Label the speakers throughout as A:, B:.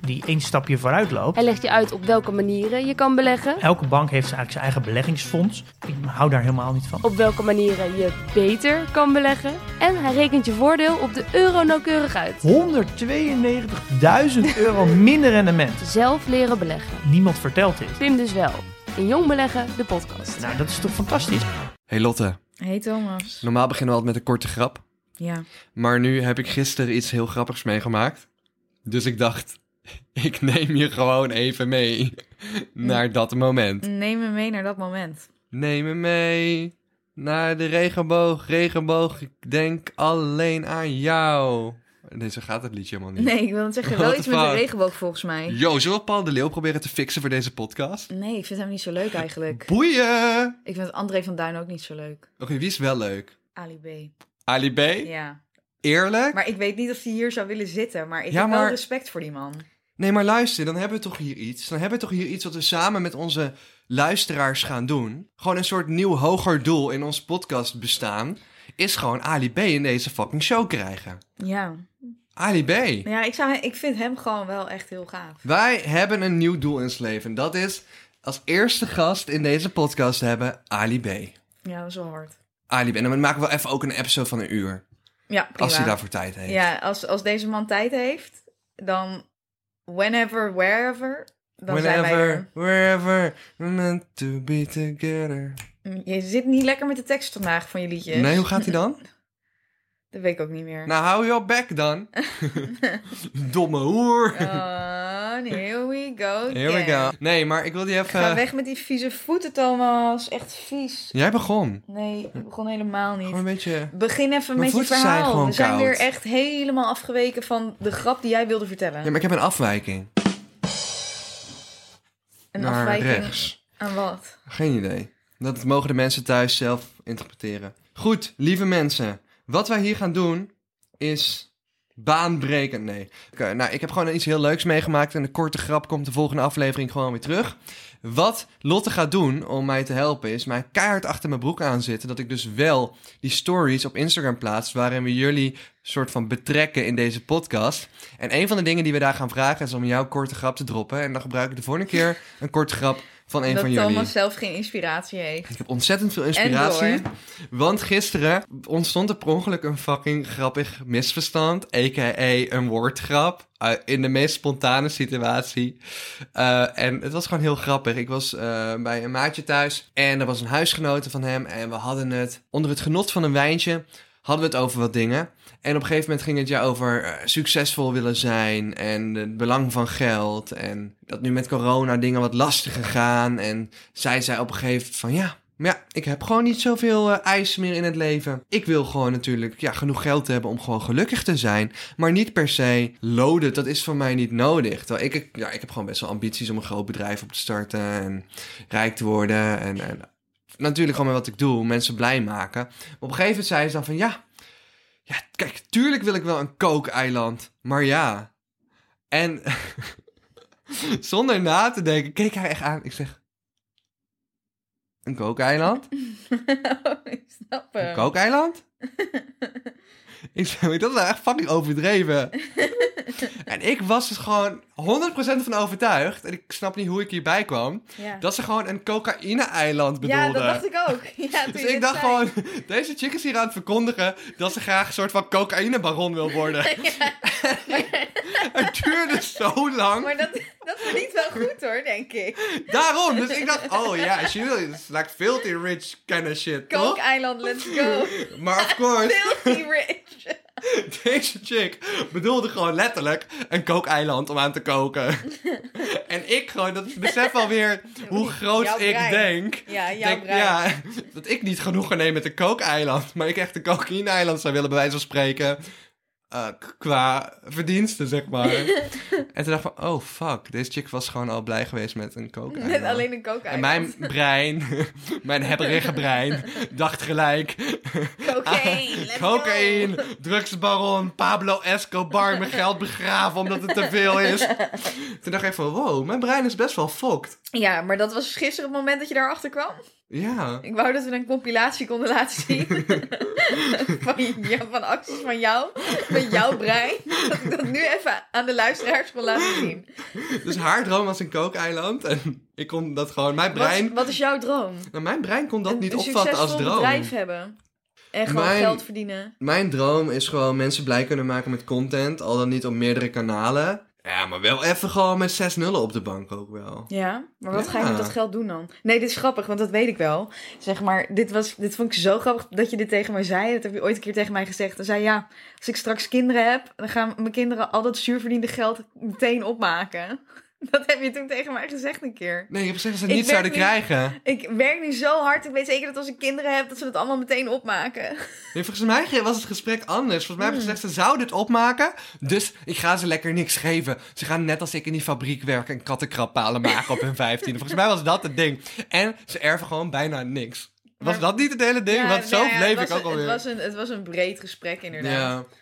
A: die één stapje vooruit loopt.
B: Hij legt je uit op welke manieren je kan beleggen.
A: Elke bank heeft eigenlijk zijn eigen beleggingsfonds. Ik hou daar helemaal niet van.
B: Op welke manieren je beter kan beleggen. En hij rekent je voordeel op de euro nauwkeurig uit.
A: 192.000 euro minder rendement.
B: Zelf leren beleggen.
A: Niemand vertelt dit.
B: Pim dus wel. In Jong Beleggen, de podcast.
A: Nou, dat is toch fantastisch?
C: Hey Lotte,
D: Hey Thomas.
C: normaal beginnen we altijd met een korte grap.
D: Ja.
C: Maar nu heb ik gisteren iets heel grappigs meegemaakt. Dus ik dacht, ik neem je gewoon even mee naar dat moment.
D: Neem me mee naar dat moment.
C: Neem me mee naar de regenboog, regenboog. Ik denk alleen aan jou. Nee, zo gaat het liedje helemaal niet.
D: Nee, ik wil het zeggen. Wel
C: What the
D: iets met de
C: fuck?
D: regenboog volgens mij.
C: Yo, zullen we Paul de Leeuw proberen te fixen voor deze podcast?
D: Nee, ik vind hem niet zo leuk eigenlijk.
C: Boeien!
D: Ik vind André van Duin ook niet zo leuk.
C: Oké, wie is wel leuk?
D: Ali B.
C: Ali B?
D: Ja.
C: Eerlijk?
D: Maar ik weet niet of hij hier zou willen zitten, maar ik
C: Ja,
D: heb
C: maar-
D: wel respect voor die man.
C: Nee, maar luister, dan hebben we toch hier iets. Dan hebben we toch hier iets wat we samen met onze luisteraars gaan doen. Gewoon een soort nieuw hoger doel in ons podcast bestaan. Is gewoon Ali B in deze fucking show krijgen.
D: Ja.
C: Ali B.
D: Ja, ik, zou, ik vind hem gewoon wel echt heel gaaf.
C: Wij hebben een nieuw doel in ons leven. En dat is als eerste gast in deze podcast hebben Ali B.
D: Ja, dat is wel hard.
C: Ali B. En dan maken we even ook een episode van een uur.
D: Ja, prima.
C: Als hij daarvoor tijd heeft.
D: Ja, als, als deze man tijd heeft, dan whenever, wherever, dan zijn wij
C: Whenever,
D: er.
C: wherever, we're meant to be together.
D: Je zit niet lekker met de tekst vandaag van je liedjes.
C: Nee, hoe gaat hij dan?
D: Dat weet ik ook niet meer.
C: Nou, hou je bek dan. Domme hoer.
D: Oh, here we go.
C: Here we
D: again.
C: go. Eh. Nee, maar ik wil die even...
D: Ga weg met die vieze voeten, Thomas. Echt vies.
C: Jij begon.
D: Nee, ik begon helemaal
C: Gewoon een
D: niet.
C: beetje...
D: Begin
C: Mijn
D: even met je
C: voeten zijn
D: verhaal.
C: gewoon
D: We zijn
C: koud.
D: weer echt helemaal afgeweken van de grap die jij wilde vertellen.
C: Ja, maar ik heb een afwijking.
D: Een
C: naar
D: afwijking
C: rechts.
D: aan wat?
C: Geen idee. Dat mogen de mensen thuis zelf interpreteren. Goed, lieve mensen. Wat wij hier gaan doen is baanbrekend. Nee. Oké, nou, ik heb gewoon iets heel leuks meegemaakt. En de korte grap komt de volgende aflevering gewoon weer terug. Wat Lotte gaat doen om mij te helpen is mij keihard achter mijn broek aan zitten. Dat ik dus wel die stories op Instagram plaats waarin we jullie soort van betrekken in deze podcast. En een van de dingen die we daar gaan vragen is om jouw korte grap te droppen. En dan gebruik ik de volgende keer een korte grap van een
D: dat
C: van
D: Thomas
C: jullie.
D: zelf geen inspiratie heeft.
C: Ik heb ontzettend veel inspiratie.
D: En
C: Want gisteren ontstond er per ongeluk een fucking grappig misverstand. A.k.a. een woordgrap. eh, in de meest spontane situatie. Eh, en het was gewoon heel grappig. Ik was eh, bij een maatje thuis. En er was een huisgenote van hem. En we hadden het onder het genot van een wijntje. Hadden we het over wat dingen. En op een gegeven moment ging het ja over eh, succesvol willen zijn. En het belang van geld. En dat nu met corona dingen wat lastiger gaan. En zij zei op een gegeven moment van ja, maar ja, ik heb gewoon niet zoveel eh, eisen meer in het leven. Ik wil gewoon natuurlijk ja, genoeg geld hebben om gewoon gelukkig te zijn. Maar niet per se loaded, dat is voor mij niet nodig. Terwijl ik- ik, ja, ik heb gewoon best wel ambities om een groot bedrijf op te starten en rijk te worden. En, en natuurlijk gewoon met wat ik doe, mensen blij maken. Maar op een gegeven moment zei ze dan van ja, ja kijk, tuurlijk wil ik wel een kookeiland, maar ja. En zonder na te denken, keek hij echt aan. Ik zeg, een kookeiland?
D: ik snap
C: Een
D: hem.
C: kookeiland? ik zei, dat is nou echt fucking overdreven. en ik was dus gewoon 100% van overtuigd, en ik snap niet hoe ik hierbij kwam,
D: Ja.
C: dat ze gewoon een cocaïne-eiland bedoelde.
D: ja, dat dacht ik ook. Ja, toen
C: dus
D: je dit
C: ik dacht
D: zei.
C: gewoon, deze chick is hier aan het verkondigen dat ze graag een soort van cocaïnebaron wil worden. het duurde zo lang.
D: Maar dat, dat verdient wel goed hoor, denk ik.
C: Daarom, dus ik dacht, oh ja, she is like filthy rich kind of shit, toch?
D: Kookeiland, let's go.
C: Maar of course,
D: Filthy rich.
C: Deze chick bedoelde gewoon letterlijk een kookeiland om aan te koken. en ik gewoon, dat besef alweer hoe groot
D: Jouw
C: ik
D: brein.
C: denk.
D: Ja,
C: Ik
D: jouw
C: denk,
D: brein.
C: ja, dat ik niet genoegen neem met een kookeiland, maar ik echt een cocaïne-eiland zou willen bij wijze van spreken. eh, k- qua verdiensten, zeg maar. en toen dacht ik van, oh fuck, deze chick was gewoon al blij geweest met een coke
D: Met alleen een coke
C: En mijn brein, mijn hebberige brein, dacht gelijk...
D: Cocaïne, let's go.
C: Cocaïne, drugsbaron, Pablo Escobar, mijn geld begraven omdat het te veel is. Toen dacht ik van, wow, mijn brein is best wel fokt.
D: Ja, maar dat was gisteren het moment dat je daarachter kwam.
C: Ja.
D: Ik wou dat we een compilatie konden laten zien. van, ja, van acties van jou, van jouw brein. Dat ik dat nu even aan de luisteraars kon laten zien.
C: Dus haar droom was een kookeiland en ik kon dat gewoon... Mijn brein,
D: Wat, wat is jouw droom?
C: nou, mijn brein kon dat
D: Een-
C: niet
D: een
C: opvatten als
D: succesvol
C: droom.
D: bedrijf hebben. En gewoon
C: Mijn-
D: geld verdienen.
C: Mijn droom is gewoon mensen blij kunnen maken met content, al dan niet op meerdere kanalen. Ja, maar wel even gewoon met zes nullen op de bank ook wel.
D: Ja, maar wat
C: Ja.
D: ga je met dat geld doen dan? Nee, dit is grappig, want dat weet ik wel. Zeg maar, dit, was, dit vond ik zo grappig dat je dit tegen mij zei. Dat heb je ooit een keer tegen mij gezegd. Dan zei je, ja, als ik straks kinderen heb, dan gaan mijn kinderen al dat zuurverdiende geld meteen opmaken. Dat heb je toen tegen mij gezegd een keer.
C: Nee, je hebt gezegd dat ze het
D: Ik
C: niet zouden
D: werk
C: krijgen.
D: Ik werk nu zo hard, ik weet zeker dat als ik kinderen heb, dat ze dat allemaal meteen opmaken.
C: Nee, volgens mij was het gesprek anders. Volgens mij heb ik
D: Hmm.
C: gezegd, ze zouden dit opmaken, dus ik ga ze lekker niks geven. Ze gaan net als ik in die fabriek werken en kattenkrappalen maken op hun vijftiende. Volgens mij was dat het ding. En ze erven gewoon bijna niks. Was
D: Maar-
C: dat niet het hele ding?
D: Ja,
C: Want zo
D: nou ja, het
C: bleef
D: was
C: ik ook
D: een-
C: alweer.
D: Het was, een, het was een breed gesprek inderdaad.
C: Ja.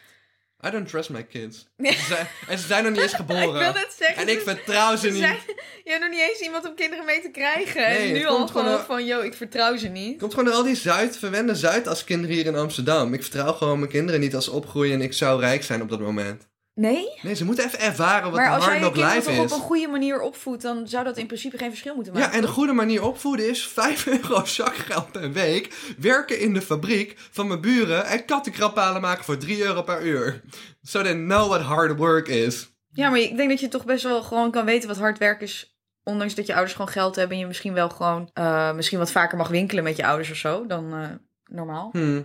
C: I don't trust my kids. Ze zijn- en ze zijn nog niet eens geboren.
D: Ik wil net zeggen,
C: En ik
D: ze-
C: vertrouw ze
D: Ze
C: niet.
D: zijn, je hebt nog niet eens iemand om kinderen mee te krijgen.
C: Nee,
D: en
C: het
D: nu al
C: komt
D: gewoon
C: gewoon, eh,
D: van, yo, ik vertrouw ze niet.
C: Komt gewoon door al die Zuid, verwende Zuidas-kinderen hier in Amsterdam. Ik vertrouw gewoon mijn kinderen niet als ze opgroeien en ik zou rijk zijn op dat moment.
D: Nee?
C: Nee, ze moeten even ervaren wat
D: maar
C: de
D: als jij
C: hard
D: je
C: knock
D: kinderen
C: life
D: toch
C: is.
D: op een goede manier opvoedt, dan zou dat in principe geen verschil moeten maken.
C: Ja, en de goede manier opvoeden is 5 euro zakgeld per week, werken in de fabriek van mijn buren en kattenkrappalen maken voor 3 euro per uur. So they know what hard work is.
D: Ja, maar ik denk dat je toch best wel gewoon kan weten wat hard werk is. Ondanks dat je ouders gewoon geld hebben en je misschien wel gewoon eh, misschien wat vaker mag winkelen met je ouders of zo dan eh, normaal.
C: Hm.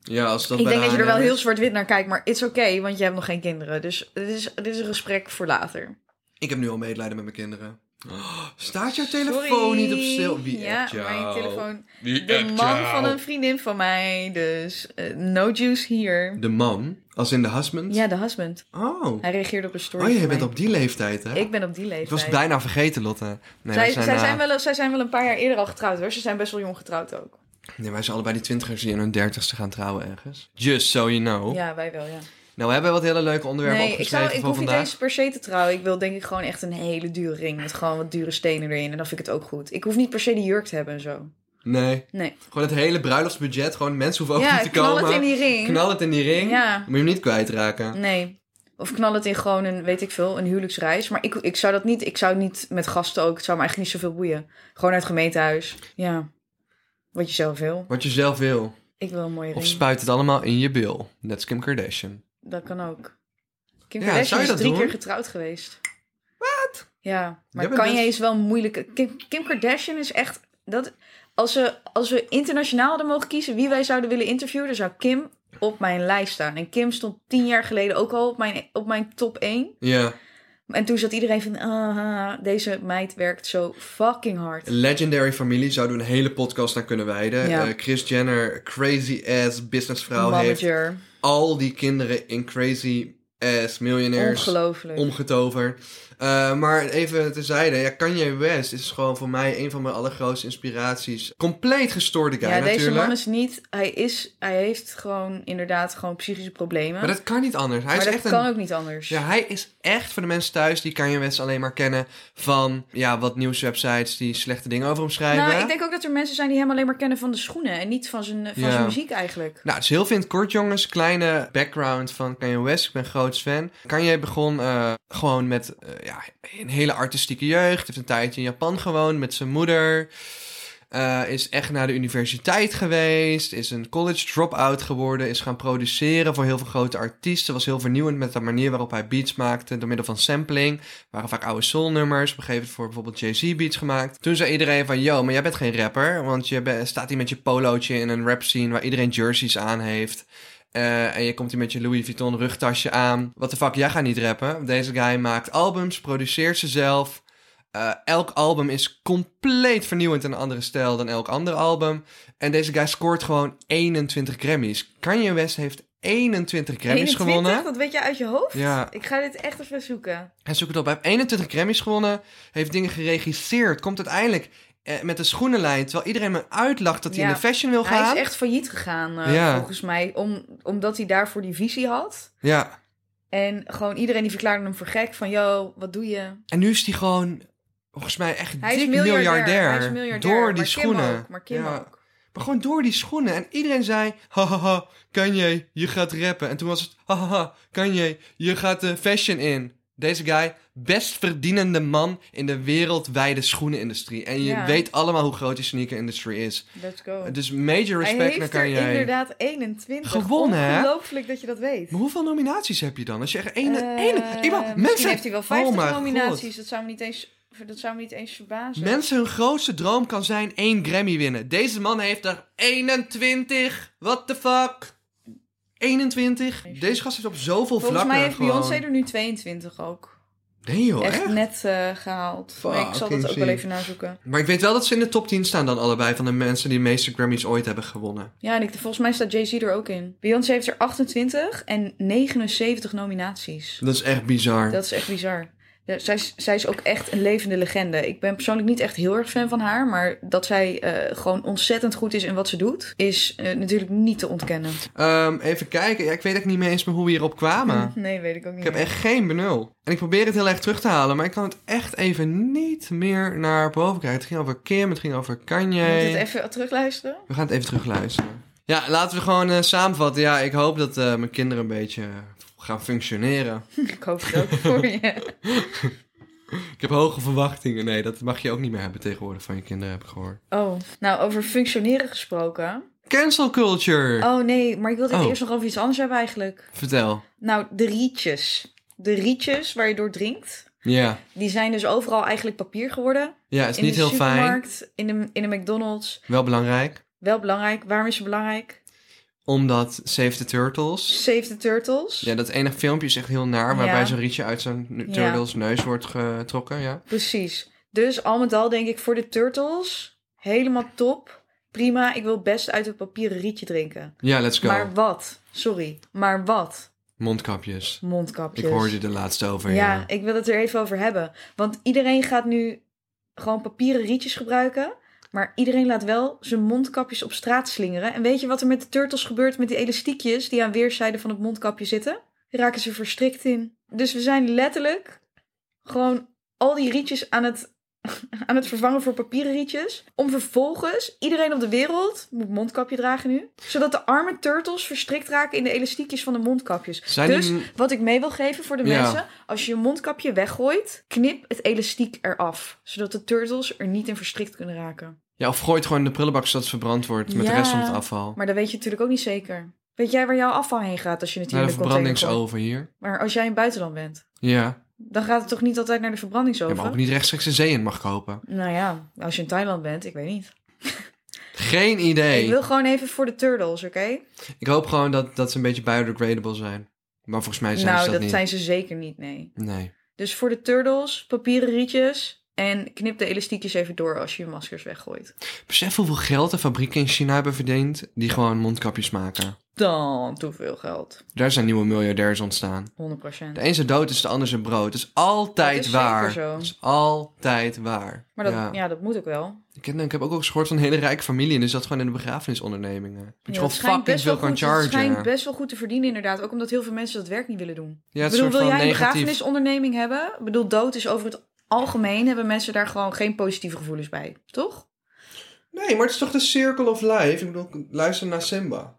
C: Ja, als dat
D: Ik
C: bij
D: denk
C: de
D: dat je er wel
C: H&M is.
D: heel zwart-wit naar kijkt, maar it's oké, want je hebt nog geen kinderen. Dus dit is, dit is een gesprek voor later.
C: Ik heb nu al medelijden met mijn kinderen. Oh, staat jouw telefoon niet op stil? Wie
D: Ja,
C: appt jou?
D: mijn telefoon.
C: Wie
D: De
C: appt
D: man
C: jou?
D: van een vriendin van mij, dus eh, no juice hier.
C: De man? Als in de husband?
D: Ja, de husband.
C: Oh.
D: Hij reageerde op een story.
C: Oh, je
D: van
C: bent
D: mij.
C: op die leeftijd, hè?
D: Ik ben op die
C: Ik was
D: leeftijd.
C: het bijna vergeten, Lotte. Nee, wij
D: zij,
C: zijn,
D: zij,
C: eh,
D: zijn wel, zij zijn wel een paar jaar eerder al getrouwd hoor. Ze zijn best wel jong getrouwd ook.
C: Nee, wij zijn allebei die twintigers die in hun dertigste gaan trouwen ergens. Just so you know.
D: Ja, wij wel, ja.
C: Nou, we hebben wat hele leuke onderwerpen
D: Nee, ik,
C: opgeschreven
D: zou, ik
C: voor
D: hoef niet
C: vandaag.
D: eens per se te trouwen. Ik wil denk ik gewoon echt een hele dure ring met gewoon wat dure stenen erin. En dan vind ik het ook goed. Ik hoef niet per se die jurk te hebben en zo.
C: Nee.
D: Nee.
C: Gewoon het hele bruiloftsbudget. Gewoon mensen hoeven ook
D: ja,
C: niet te
D: knal
C: komen.
D: het in die ring.
C: Knal het in die ring.
D: Ja.
C: Moet je hem niet kwijtraken.
D: Nee. Of knal het in gewoon een, weet ik veel, een huwelijksreis. Maar ik, ik zou dat niet, ik zou niet met gasten ook, het zou me eigenlijk niet zoveel boeien. Gewoon uit gemeentehuis. Ja. Wat je zelf wil.
C: Wat je zelf wil.
D: Ik wil een mooie
C: Of
D: ring.
C: spuit het allemaal in je bil. Net Kim Kardashian.
D: dat kan ook. Kim
C: Ja, zou
D: Kardashian
C: je
D: is
C: dat
D: drie
C: doen?
D: keer getrouwd geweest. Wat? Ja, maar
C: bent
D: Kanye
C: best-
D: is wel een moeilijke... Kim, Kim Kardashian is echt... Dat, als, we, als we internationaal hadden mogen kiezen wie wij zouden willen interviewen... dan zou Kim op mijn lijst staan. En Kim stond tien jaar geleden ook al op mijn, op mijn top 1.
C: Ja.
D: En toen zat iedereen van, ah, deze meid werkt zo fucking hard.
C: Legendary familie zouden we een hele podcast naar kunnen wijden.
D: Ja.
C: Eh, Chris Jenner, crazy ass businessvrouw, heeft
D: Manager,
C: al die kinderen in crazy ass miljonairs
D: ongelooflijk.
C: omgetoverd. Eh, maar even terzijde, ja, Kanye West is gewoon voor mij een van mijn allergrootste inspiraties. Compleet gestoorde guy
D: ja, deze
C: natuurlijk.
D: man is niet, hij is, hij heeft gewoon inderdaad gewoon psychische problemen.
C: Maar dat kan niet anders. Hij
D: Maar
C: is
D: dat
C: echt
D: kan
C: een...
D: ook niet anders.
C: Ja, hij is echt voor de mensen thuis die Kanye West alleen maar kennen van ja, wat nieuwswebsites die slechte dingen over hem schrijven.
D: nou, ik denk ook dat er mensen zijn die hem alleen maar kennen van de schoenen en niet van zijn, van
C: Ja.
D: zijn muziek eigenlijk.
C: Nou, het is heel veel in het kort, jongens. Kleine background van Kanye West. Ik ben groot fan. Kanye begon eh, gewoon met eh, ja, een hele artistieke jeugd. Heeft een tijdje in Japan gewoond met zijn moeder. Eh, is echt naar de universiteit geweest. Is een college drop-out geworden. Is gaan produceren voor heel veel grote artiesten. Was heel vernieuwend met de manier waarop hij beats maakte. Door middel van sampling. Waren vaak oude soulnummers. Op een gegeven moment voor bijvoorbeeld Jay-Z beats gemaakt. Toen zei iedereen van, yo, maar jij bent geen rapper. Want je be- staat hier met je polootje in een rap scene waar iedereen jerseys aan heeft. Eh, en je komt hier met je Louis Vuitton rugtasje aan. What the fuck, jij gaat niet rappen. Deze guy maakt albums, produceert ze zelf. Eh, elk album is compleet vernieuwend en een andere stijl dan elk ander album. En deze guy scoort gewoon 21 Grammys. Kanye West heeft 21 Grammys
D: 21,
C: gewonnen.
D: dat weet je uit je hoofd?
C: Ja.
D: Ik ga dit echt even zoeken.
C: Hij zoekt het op. Hij heeft 21 Grammys gewonnen. Heeft dingen geregisseerd. Komt uiteindelijk eh, met de schoenenlijn. Terwijl iedereen me uitlacht dat hij
D: Ja.
C: in de fashion wil gaan.
D: Hij is echt failliet gegaan, eh,
C: Ja.
D: volgens mij. Om, omdat hij daarvoor die visie had.
C: Ja.
D: En gewoon iedereen die verklaarde hem voor gek. Van, yo, wat doe je?
C: En nu is hij gewoon, volgens mij, echt
D: Hij is
C: dik
D: miljardair.
C: miljardair.
D: Hij is miljardair.
C: Door
D: maar
C: die
D: Kim
C: schoenen.
D: ook, maar Kim
C: Ja.
D: ook.
C: Maar gewoon door die schoenen. En iedereen zei, hahaha, Kanye, je gaat rappen. En toen was het, hahaha, Kanye, je gaat de fashion in. Deze guy, best verdienende man in de wereldwijde schoenenindustrie. En je
D: Ja.
C: weet allemaal hoe groot die sneaker-industrie is.
D: Let's go.
C: Dus major
D: Oh. hij
C: respect naar
D: heeft er
C: Kanye.
D: inderdaad 21.
C: Gewonnen, hè?
D: Ongelooflijk dat je dat weet.
C: Maar hoeveel nominaties heb je dan? Als je echt één...
D: Eh,
C: één- iemand-
D: misschien
C: mensen,
D: heeft hij wel
C: Oh
D: 50
C: mijn
D: nominaties.
C: God.
D: Dat zou me niet eens, dat zou me niet eens verbazen.
C: Mensen, hun grootste droom kan zijn één Grammy winnen. Deze man heeft er 21. What the fuck? 21? Deze gast heeft op zoveel
D: Volgens
C: vlakken
D: mij heeft
C: gewoon...
D: Beyoncé er nu 22 ook.
C: Nee joh,
D: echt,
C: echt?
D: net eh, gehaald. Maar ik zal
C: Fucking
D: dat ook wel
C: zie.
D: even nazoeken.
C: Maar ik weet wel dat ze in de top 10 staan dan allebei... van de mensen die de meeste Grammys ooit hebben gewonnen.
D: Ja, en ik, volgens mij staat Jay-Z er ook in. Beyoncé heeft er 28 en 79 nominaties.
C: Dat is echt bizar.
D: Dat is echt bizar. Ja, zij, is- zij is ook echt een levende legende. Ik ben persoonlijk niet echt heel erg fan van haar. Maar dat zij eh, gewoon ontzettend goed is in wat ze doet, is eh, natuurlijk niet te ontkennen.
C: Ehm, even kijken. Ja, ik weet echt niet meer eens meer hoe we hierop kwamen.
D: Nee, weet ik ook niet.
C: Ik heb
D: meer.
C: echt geen benul. En ik probeer het heel erg terug te halen... maar ik kan het echt even niet meer naar boven krijgen. Het ging over Kim, het ging over Kanye.
D: Moet je het even terugluisteren?
C: We gaan het even terugluisteren. Ja, laten we gewoon eh, samenvatten. Ja, ik hoop dat eh, mijn kinderen een beetje eh, gaan functioneren.
D: Ik hoop het ook voor je.
C: Ik heb hoge verwachtingen. Nee, dat mag je ook niet meer hebben tegenwoordig van je kinderen, heb ik gehoord.
D: Oh, nou over functioneren gesproken.
C: Cancel culture!
D: Oh nee, maar ik wilde het
C: Oh.
D: eerst nog over iets anders hebben eigenlijk.
C: Vertel.
D: Nou, de rietjes. De rietjes waar je door drinkt.
C: Ja.
D: Die zijn dus overal eigenlijk papier geworden.
C: Ja, is
D: in
C: niet
D: de
C: heel fijn.
D: supermarkt, In de, in de McDonald's.
C: Wel belangrijk.
D: Wel belangrijk. Waarom is ze belangrijk?
C: Omdat Save the Turtles...
D: Save the Turtles.
C: Ja, dat ene filmpje is echt heel naar, waarbij
D: Ja.
C: zo'n rietje uit zo'n nu-
D: Ja.
C: turtles neus wordt getrokken, ja.
D: Precies. Dus al met al denk ik voor de Turtles helemaal top. Prima, ik wil best uit het papieren rietje drinken.
C: Ja, let's go.
D: Maar wat? Sorry. Maar wat?
C: Mondkapjes.
D: Mondkapjes.
C: Ik hoorde je de laatste over, ja.
D: Ja, ik wil het er even over hebben. Want iedereen gaat nu gewoon papieren rietjes gebruiken. Maar iedereen laat wel zijn mondkapjes op straat slingeren. En weet je wat er met de turtles gebeurt met die elastiekjes die aan weerszijden van het mondkapje zitten? Die raken ze verstrikt in. Dus we zijn letterlijk gewoon al die rietjes aan het, aan het vervangen voor papieren rietjes. Om vervolgens iedereen op de wereld moet mondkapje dragen nu. Zodat de arme turtles verstrikt raken in de elastiekjes van de mondkapjes.
C: Zijn
D: dus
C: die-
D: wat ik mee wil geven voor de
C: Ja.
D: mensen, als je je mondkapje weggooit, knip het elastiek eraf, zodat de turtles er niet in verstrikt kunnen raken.
C: Ja, of gooi het gewoon in de prullenbak zodat het verbrand wordt met de
D: Ja.
C: rest van het afval.
D: Maar dat weet je natuurlijk ook niet zeker. Weet jij waar jouw afval heen gaat als je het hier
C: Naar
D: in
C: de
D: de container gooit?
C: verbrandingsoven hier.
D: Maar als jij in het buitenland bent,
C: Ja.
D: dan gaat het toch niet altijd naar de
C: Je
D: verbrandingsoven?
C: maar ook niet rechtstreeks de zee in mag kopen.
D: Nou ja, als je in Thailand bent, ik weet niet.
C: Geen idee.
D: Ik
C: Ik,
D: wil gewoon even voor de turtles, oké?
C: hoop gewoon dat, dat ze een beetje biodegradable zijn. Maar volgens mij zijn
D: Nou,
C: ze
D: dat,
C: dat, niet.
D: zijn ze zeker niet, nee.
C: Nee.
D: Dus voor de turtles, papieren rietjes en knip de elastiekjes even door als je je maskers weggooit.
C: Besef hoeveel geld de fabrieken in China hebben verdiend die gewoon mondkapjes maken.
D: Dan te veel geld.
C: Daar zijn nieuwe miljardairs ontstaan.
D: 100
C: De e- een zijn dood is de ander zijn brood. Dat is altijd
D: Dat is
C: waar.
D: zeker zo.
C: Dat is altijd waar.
D: Maar dat,
C: ja.
D: ja. dat moet ook wel.
C: Ik, ken- ik heb ook wel eens gehoord van een hele rijke familie en die zat gewoon in de begrafenisondernemingen. Dat je
D: Ja,
C: gewoon
D: dat schijnt
C: fucking
D: best wel
C: veel kan
D: goed- dat schijnt
C: chargen.
D: best wel goed te verdienen inderdaad. Ook omdat heel veel mensen dat werk niet willen doen.
C: Ja,
D: ik
C: het is
D: bedoel,
C: een
D: wil
C: soort
D: jij
C: van
D: een
C: negatief.
D: begrafenisonderneming hebben? Ik bedoel, dood is over het algemeen... hebben mensen daar gewoon geen positieve gevoelens bij. Toch?
C: Nee, maar het is toch de circle of life? Ik bedoel, luister naar Simba.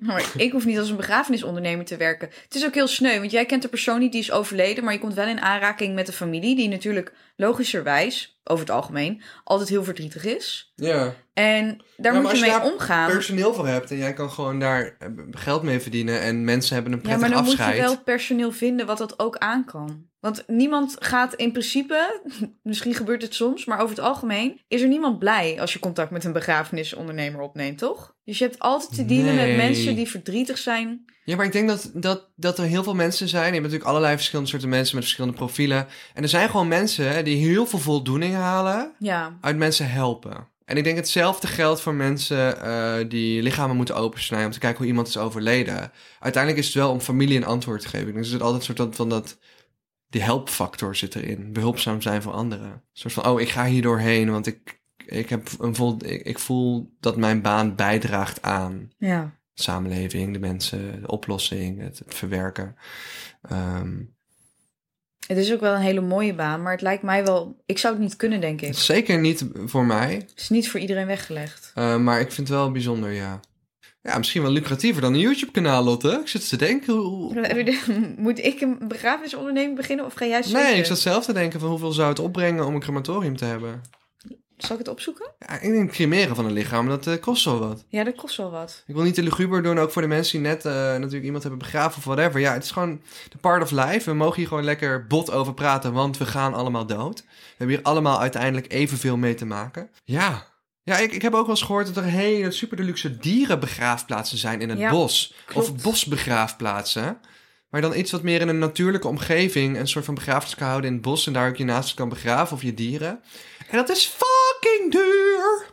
D: Maar ik hoef niet als een begrafenisondernemer te werken. Het is ook heel sneu, want jij kent de persoon niet die is overleden... maar je komt wel in aanraking met de familie... die natuurlijk logischerwijs, over het algemeen... altijd heel verdrietig is.
C: Ja.
D: En daar
C: maar
D: moet
C: als
D: je
C: je
D: mee
C: daar
D: omgaan.
C: Personeel voor hebt en jij kan gewoon daar eh, geld mee verdienen en mensen hebben een
D: Ja,
C: prettig
D: maar dan
C: afscheid.
D: moet je wel personeel vinden wat dat ook aan kan. Want niemand gaat in principe, misschien gebeurt het soms, maar over het algemeen is er niemand blij als je contact met een begrafenisondernemer opneemt, toch? Dus je hebt altijd te dealen
C: Nee.
D: met mensen die verdrietig zijn.
C: Ja, maar ik denk dat, dat, dat er heel veel mensen zijn. Je hebt natuurlijk allerlei verschillende soorten mensen met verschillende profielen. En er zijn gewoon mensen hè, die heel veel voldoening halen
D: Ja,
C: uit mensen helpen. En ik denk hetzelfde geldt voor mensen eh, die lichamen moeten opensnijden om te kijken hoe iemand is overleden. Uiteindelijk is het wel om familie een antwoord te geven. Dus er zit altijd een soort van- van dat. Die helpfactor zit erin. Behulpzaam zijn voor anderen. Een soort van, oh, ik ga hier doorheen, want ik, ik, heb een vol, ik, ik voel dat mijn baan bijdraagt aan
D: Ja.
C: de samenleving, de mensen, de oplossing, het, het verwerken. Ehm,
D: Het is ook wel een hele mooie baan, maar het lijkt mij wel... Ik zou het niet kunnen, denk ik.
C: het is zeker niet voor mij,
D: Het is niet voor iedereen weggelegd.
C: Eh, maar ik vind het wel bijzonder, ja. Ja, misschien wel lucratiever dan een YouTube-kanaal, Lotte. Ik zit te denken hoe... hoe-
D: Moet ik een begrafenisonderneming beginnen of ga jij zoeken?
C: Nee, ik zat zelf te denken van hoeveel zou het opbrengen om een crematorium te hebben.
D: Zal ik het opzoeken?
C: Ja, ik denk cremeren van een lichaam, dat eh, kost wel wat.
D: Ja, dat kost wel wat.
C: Ik wil niet te luguber doen, ook voor de mensen die net eh, natuurlijk iemand hebben begraven of whatever. Ja, het is gewoon de part of life. We mogen hier gewoon lekker bot over praten, want we gaan allemaal dood. We hebben hier allemaal uiteindelijk evenveel mee te maken. Ja, ja ik, ik heb ook wel eens gehoord dat er hele super deluxe dierenbegraafplaatsen zijn in het
D: Ja,
C: bos.
D: klopt.
C: Of bosbegraafplaatsen. Maar dan iets wat meer in een natuurlijke omgeving, een soort van begrafenis kan houden in het bos. En daar ook je naast kan begraven of je dieren. En dat is fucking duur.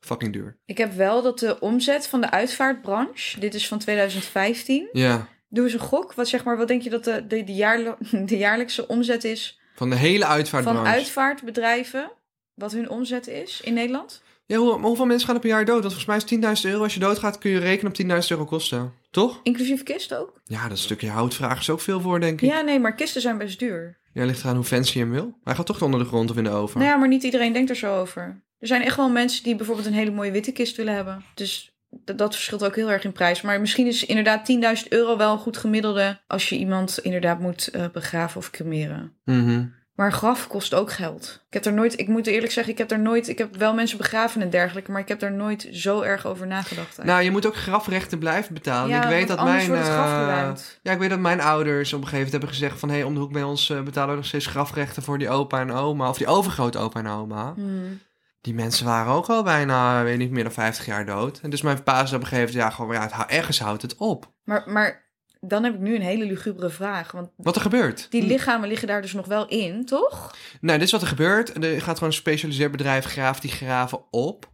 C: Fucking duur.
D: Ik heb wel dat de omzet van de uitvaartbranche, dit is van 2015.
C: Ja.
D: Doe eens een gok. Wat, zeg maar, wat denk je dat de, de, de, jaarlo- de jaarlijkse omzet is
C: Van de hele uitvaartbranche.
D: van uitvaartbedrijven? Wat hun omzet is in Nederland?
C: Ja, hoe, maar hoeveel mensen gaan er per jaar dood? Want volgens mij is 10.000 euro. Als je doodgaat kun je rekenen op 10.000 euro kosten. Toch?
D: Inclusief kist ook?
C: Ja, dat stukje houtvraag is ook veel voor, denk ik. Ja,
D: Ja, nee, maar kisten zijn best duur.
C: ligt eraan hoe fancy je hem wil. Hij gaat toch onder de grond of in de oven.
D: Nou ja, maar niet iedereen denkt er zo over. Er zijn echt wel mensen die bijvoorbeeld een hele mooie witte kist willen hebben. Dus d- dat verschilt ook heel erg in prijs. Maar misschien is inderdaad 10.000 euro wel een goed gemiddelde... als je iemand inderdaad moet eh, begraven of cremeren.
C: Mhm.
D: Maar een graf kost ook geld. Ik heb er nooit, ik moet eerlijk zeggen, ik heb er nooit, ik heb wel mensen begraven en dergelijke, maar ik heb daar nooit zo erg over nagedacht.
C: Nou, je moet ook grafrechten blijven betalen. Nou, ik weet
D: want
C: dat
D: anders
C: mijn...
D: wordt het graf
C: eh,
D: geruimd.
C: ja, ik weet dat mijn ouders op een gegeven moment hebben gezegd van... hé, hey, om de hoek bij ons eh, betalen we nog steeds grafrechten voor die opa en oma. Of die overgrootopa en oma.
D: Hmm.
C: Die mensen waren ook al bijna, weet niet, meer dan 50 jaar dood. En dus mijn pa is op een gegeven moment... ja, gewoon, ja, het, hou- ergens houdt het op.
D: Maar, maar dan heb ik nu een hele lugubere vraag, want
C: Wat er gebeurt.
D: die lichamen liggen daar dus nog wel in, toch?
C: Nou, dit is wat er gebeurt. Er gaat gewoon een specialiseerd bedrijf graaft die graven op.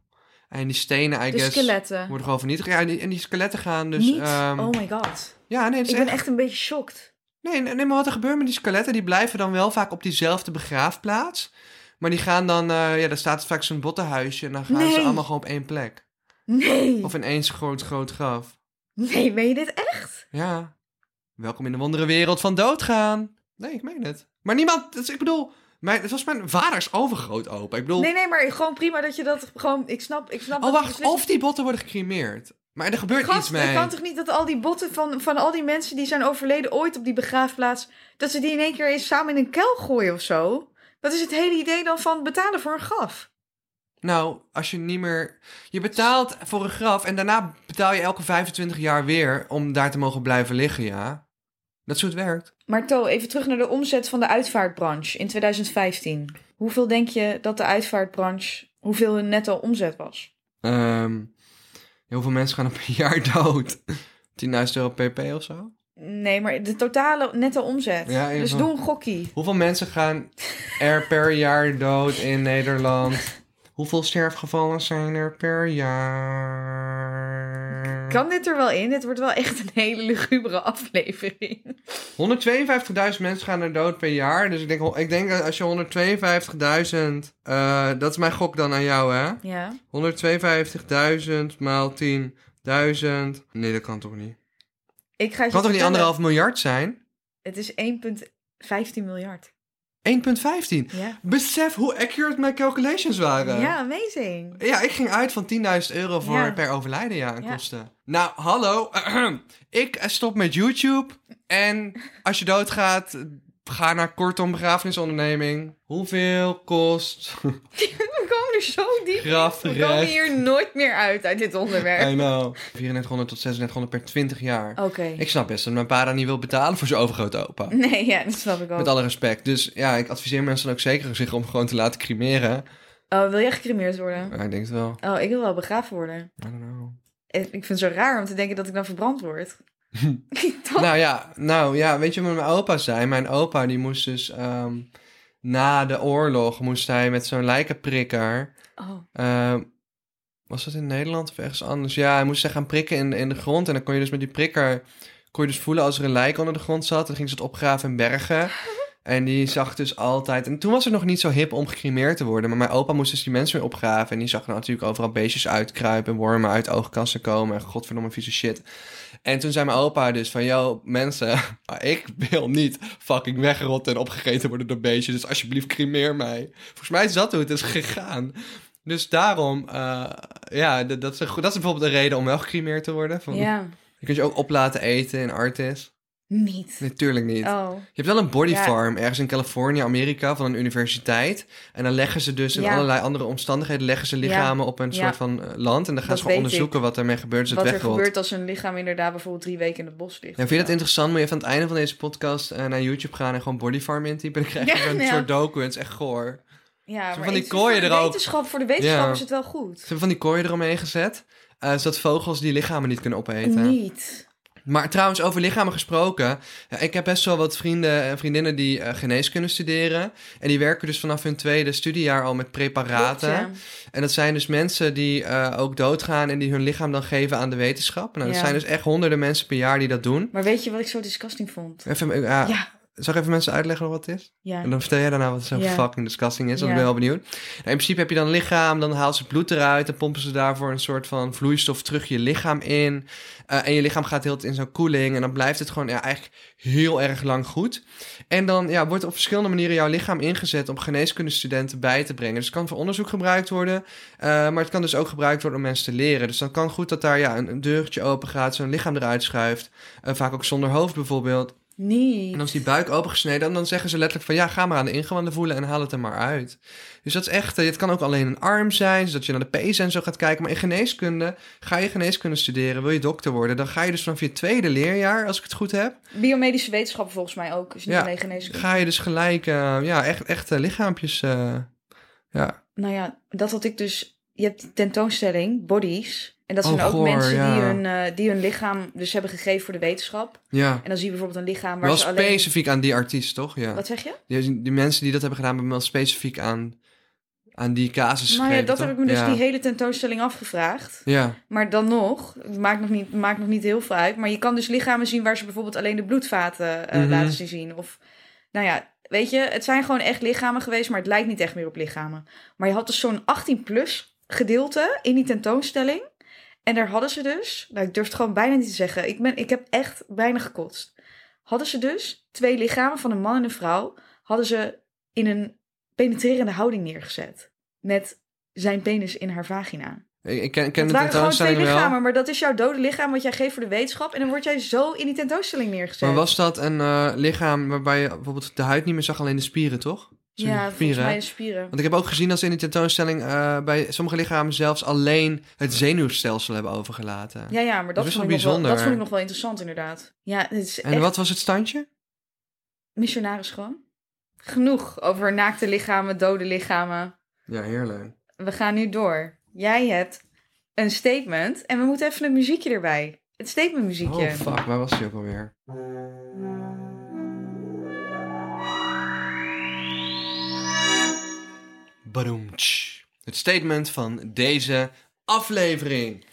C: En die stenen, I
D: De
C: guess,
D: skeletten.
C: worden gewoon vernietigd. Ja, en die, en die skeletten gaan dus...
D: Niet?
C: ehm,
D: oh my god.
C: ja, nee, het is
D: Ik ben
C: echt-
D: echt een beetje shocked.
C: Nee, nee, nee, maar wat er gebeurt met die skeletten, die blijven dan wel vaak op diezelfde begraafplaats. Maar die gaan dan... eh, ja, daar staat vaak zo'n bottenhuisje en dan gaan ze
D: Nee.
C: allemaal gewoon op één plek.
D: Nee.
C: Of in één groot, groot graf.
D: Nee, meen je dit echt?
C: Ja. Welkom in de wondere wereld van doodgaan. Nee, ik meen het. Maar niemand... dus ik bedoel... Mijn, het was mijn vaders overgrootopa. Ik bedoel...
D: Nee, nee, maar gewoon prima dat je dat gewoon, ik snap, ik snap.
C: Oh,
D: dat je
C: wacht.
D: beslissing-
C: Of die botten worden gecremeerd. Maar er gebeurt iets
D: Gast,
C: mee.
D: het kan toch niet dat al die botten van, van al die mensen die zijn overleden ooit op die begraafplaats, dat ze die in één keer eens samen in een kuil gooien of zo? Wat is het hele idee dan van betalen voor een graf?
C: Nou, als je niet meer... Je betaalt voor een graf en daarna betaal je elke 25 jaar weer om daar te mogen blijven liggen, ja. Dat is hoe het werkt.
D: Maar To, even terug naar de omzet van de uitvaartbranche in 2015. Hoeveel denk je dat de uitvaartbranche, hoeveel hun netto omzet was?
C: Ehm, heel veel mensen gaan er per jaar dood. 10.000 euro pp of zo.
D: Nee, maar de totale netto omzet.
C: Ja, in
D: dus
C: ieder
D: doe
C: geval.
D: een gokkie.
C: Hoeveel mensen gaan er per jaar dood in Nederland? Hoeveel sterfgevallen zijn er per jaar?
D: Kan dit er wel in? Dit wordt wel echt een hele lugubere aflevering.
C: 152.000 mensen gaan er dood per jaar. Dus ik denk, ik denk dat als je 152.000... eh, dat is mijn gok dan aan jou, hè?
D: Ja.
C: 152.000 maal 10.000... Nee, dat kan toch niet?
D: Ik ga het je
C: Kan toch niet
D: vertellen.
C: anderhalf miljard zijn?
D: Het is 1,15 miljard.
C: 1,15.
D: Ja.
C: Besef hoe accurate mijn calculations waren.
D: Ja, amazing.
C: Ja, ik ging uit van 10.000 euro voor
D: Ja.
C: per overlijden ja, aan
D: Ja.
C: kosten. Nou, hallo. ik eh, stop met YouTube. En als je doodgaat, ga naar kortom begrafenisonderneming. Hoeveel kost...
D: We komen er zo diep. in. We komen
C: Grafrecht.
D: hier nooit meer uit uit dit onderwerp.
C: I know. 3400 tot 3600 per 20 jaar.
D: Oké. Mm,
C: Ik snap best dat mijn pa daar niet wil betalen voor zijn overgrote opa.
D: Nee, ja, dat snap ik ook.
C: Met alle respect. Dus ja, ik adviseer mensen dan ook zeker zich om gewoon te laten cremeren.
D: Oh, wil jij gecremeerd worden?
C: Ja, ik denk het wel.
D: Oh, ik wil wel begraven worden.
C: I don't know.
D: En Ik vind het zo raar om te denken dat ik dan verbrand word. Toch?
C: Nou ja, nou ja, weet je wat mijn opa zei? Mijn opa die moest dus ehm, na de oorlog moest hij met zo'n lijkenprikker
D: Oh,
C: ehm, Was dat in Nederland of ergens anders? Ja, hij moest zich gaan prikken in, in de grond. En dan kon je dus met die prikker... kon je dus voelen als er een lijk onder de grond zat. Dan ging ze het opgraven en bergen. En die zag dus altijd... En toen was het nog niet zo hip om gecremeerd te worden. Maar mijn opa moest dus die mensen weer opgraven. En die zag dan natuurlijk overal beestjes uitkruipen... en wormen uit oogkassen komen. En godverdomme vieze shit. En toen zei mijn opa dus van... Yo, mensen, ik wil niet fucking wegrotten en opgegeten worden door beestjes. Dus alsjeblieft, cremeer mij. Volgens mij is dat hoe het is gegaan. Dus daarom, eh, ja, d- dat is, een goed- dat is bijvoorbeeld een reden om wel gecremeerd te worden. Van,
D: Ja.
C: Je kunt je ook op laten eten in Artis.
D: Niet.
C: Natuurlijk niet.
D: Oh.
C: Je hebt wel een body
D: Ja.
C: farm ergens in Californië, Amerika, van een universiteit. En dan leggen ze dus in
D: Ja.
C: allerlei andere omstandigheden leggen ze lichamen op een
D: Ja.
C: soort van eh, land. En dan gaan
D: Dat
C: ze gewoon
D: weet
C: onderzoeken wat daarmee gebeurt als
D: Wat
C: het
D: er
C: wegrolt.
D: gebeurt als een lichaam inderdaad bijvoorbeeld drie weken in het bos ligt.
C: Nou, vind je dat interessant? Moet je even aan het einde van deze podcast eh, naar YouTube gaan en gewoon body farm intypen. Dan krijg je
D: Ja,
C: zo'n
D: ja.
C: soort docu. Het is echt goor.
D: Ja,
C: Zo
D: maar
C: van die
D: het is
C: kooien
D: voor de
C: er ook.
D: Wetenschap, voor de wetenschap
C: Ja.
D: is het wel goed.
C: Ze hebben van die kooien eromheen gezet. eh, zodat vogels die lichamen niet kunnen opeten.
D: Niet.
C: Maar trouwens, over lichamen gesproken. ja, ik heb best wel wat vrienden en vriendinnen die eh, geneeskunde studeren. En die werken dus vanaf hun tweede studiejaar al met preparaten.
D: Klopt,
C: En dat zijn dus mensen die eh, ook doodgaan en die hun lichaam dan geven aan de wetenschap. Nou, dat
D: Ja.
C: zijn dus echt honderden mensen per jaar die dat doen.
D: Maar weet je wat ik zo disgusting vond?
C: Even, eh, ja,
D: Ja.
C: Zal ik even mensen uitleggen wat het is?
D: Ja.
C: En dan vertel jij daarna wat zo
D: Ja.
C: fucking disgusting is. Want ik
D: Ja.
C: ben wel benieuwd. Nou, in principe heb je dan een lichaam, dan haalt ze bloed eruit. Dan pompen ze daarvoor een soort van vloeistof terug je lichaam in. Eh, en je lichaam gaat heel de tijd in zo'n koeling. En dan blijft het gewoon ja, eigenlijk heel erg lang goed. En dan ja, wordt op verschillende manieren jouw lichaam ingezet om geneeskundestudenten bij te brengen. Dus het kan voor onderzoek gebruikt worden. eh, maar het kan dus ook gebruikt worden om mensen te leren. Dus dan kan goed dat daar ja, een, een deurtje open gaat, zo'n lichaam eruit schuift. Eh, vaak ook zonder hoofd bijvoorbeeld.
D: Niet.
C: En als die buik opengesneden, dan zeggen ze letterlijk van ja, ga maar aan de ingewanden voelen en haal het er maar uit. Dus dat is echt, eh, het kan ook alleen een arm zijn, zodat je naar de pees en zo gaat kijken. Maar in geneeskunde, ga je geneeskunde studeren, wil je dokter worden, dan ga je dus vanaf je tweede leerjaar, als ik het goed heb,
D: Biomedische wetenschap volgens mij ook. Is niet
C: Ja,
D: alleen geneeskunde.
C: ga je dus gelijk, eh, ja, echt, echt eh, lichaampjes, eh, ja.
D: Nou ja, dat had ik dus. Je hebt die tentoonstelling, bodies. En dat
C: Oh,
D: zijn ook
C: goor,
D: mensen die,
C: ja.
D: hun, eh, die hun lichaam dus hebben gegeven voor de wetenschap.
C: Ja,
D: En dan zie je bijvoorbeeld een lichaam waar
C: wel
D: ze alleen...
C: specifiek aan die artiest, toch? Ja.
D: Wat zeg je? Nou
C: Die, die mensen die dat hebben gedaan, hebben wel specifiek aan, aan die casus
D: Nou ja,
C: gegeven,
D: dat
C: toch?
D: heb ik me dus
C: ja.
D: die hele tentoonstelling afgevraagd.
C: Ja,
D: Maar dan nog, het maakt nog, niet, maakt nog niet heel veel uit. Maar je kan dus lichamen zien waar ze bijvoorbeeld alleen de bloedvaten eh,
C: Mhm.
D: laten zien zien. Of, nou ja, weet je, het zijn gewoon echt lichamen geweest, maar het lijkt niet echt meer op lichamen. Maar je had dus zo'n 18-plus gedeelte in die tentoonstelling. En daar hadden ze dus, nou ik durf het gewoon bijna niet te zeggen, ik, ben, ik heb echt bijna gekotst. Hadden ze dus twee lichamen van een man en een vrouw, hadden ze in een penetrerende houding neergezet. Met zijn penis in haar vagina.
C: ik, ik ken, ik ken de
D: Het waren gewoon twee
C: tentoonstelling wel.
D: lichamen, maar dat is jouw dode lichaam wat jij geeft voor de wetenschap. En dan word jij zo in die tentoonstelling neergezet.
C: Maar was dat een eh, lichaam waarbij je bijvoorbeeld de huid niet meer zag, alleen de spieren, toch? Zo'n
D: ja, volgens
C: hè?
D: mij de spieren.
C: Want ik heb ook gezien dat ze in die tentoonstelling eh, bij sommige lichamen zelfs alleen het zenuwstelsel hebben overgelaten.
D: Ja, ja, maar dat,
C: Dat is
D: vond
C: wel
D: ik nog wel, dat
C: bijzonder.
D: vond ik nog wel interessant inderdaad. Ja, het is
C: en
D: echt
C: wat was het standje?
D: missionaris gewoon. Genoeg over naakte lichamen, dode lichamen.
C: Ja, heerlijk.
D: We gaan nu door. Jij hebt een statement en we moeten even een muziekje erbij. Het statement muziekje.
C: Oh fuck, waar was die ook alweer? Badoemtsch. Het statement van deze aflevering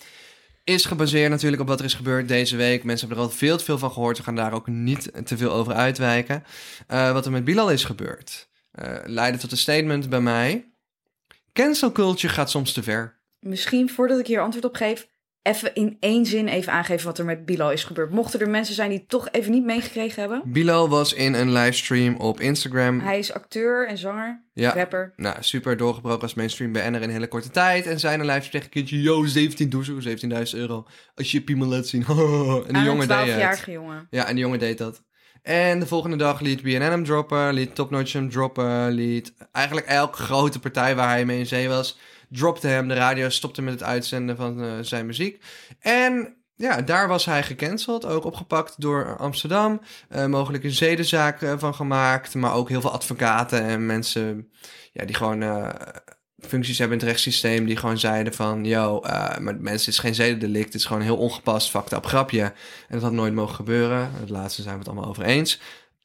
C: is gebaseerd natuurlijk op wat er is gebeurd deze week. Mensen hebben er al veel te veel van gehoord. We gaan daar ook niet te veel over uitwijken. Eh, wat er met Bilal is gebeurd, eh, leidde tot een statement bij mij. Cancel culture gaat soms te ver.
D: Misschien voordat ik hier antwoord op geef, even in één zin even aangeven wat er met Bilal is gebeurd. Mochten er mensen zijn die het toch even niet meegekregen hebben.
C: Bilal was in een livestream op Instagram.
D: Hij is acteur en zanger,
C: Hm. ja.
D: rapper.
C: Nou, super doorgebroken als mainstream BN'er in een hele korte tijd. En zijn een livestream tegen een kindje, yo, 17 doezoe, 17.000 euro. Als je piemel laat zien. en die
D: Aan
C: jongen
D: een
C: deed het.
D: 12-jarige jongen.
C: Ja, en die jongen deed dat. En de volgende dag liet BNN hem droppen, liet Top Notch hem droppen, liet eigenlijk elke grote partij waar hij mee in zee was, dropte hem. De radio stopte met het uitzenden van eh, zijn muziek. En ja, daar was hij gecanceld, ook opgepakt door Amsterdam. Eh, mogelijk een zedenzaak eh, van gemaakt, maar ook heel veel advocaten en mensen ja, die gewoon eh, functies hebben in het rechtssysteem, die gewoon zeiden van, yo, eh, maar mensen, het is geen zedendelict, het is gewoon een heel ongepast, fucked up grapje. En dat had nooit mogen gebeuren. Het laatste zijn we het allemaal over eens.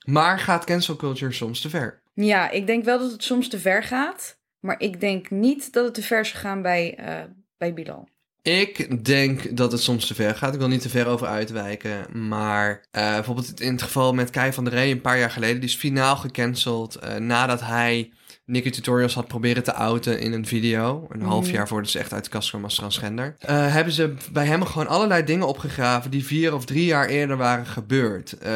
C: Maar gaat cancel culture soms te ver?
D: Ja, ik denk wel dat het soms te ver gaat. Maar ik denk niet dat het te ver zou gaan bij eh, bij Bilal?
C: Ik denk dat het soms te ver gaat. Ik wil niet te ver over uitwijken. Maar eh, bijvoorbeeld in het geval met Kai van der Rey een paar jaar geleden. Die is finaal gecanceld eh, nadat hij Nicky Tutorials had proberen te outen in een video. Een half jaar voordat ze echt uit de kast kwam als transgender. Eh, hebben ze bij hem gewoon allerlei dingen opgegraven die vier of drie jaar eerder waren gebeurd. Eh,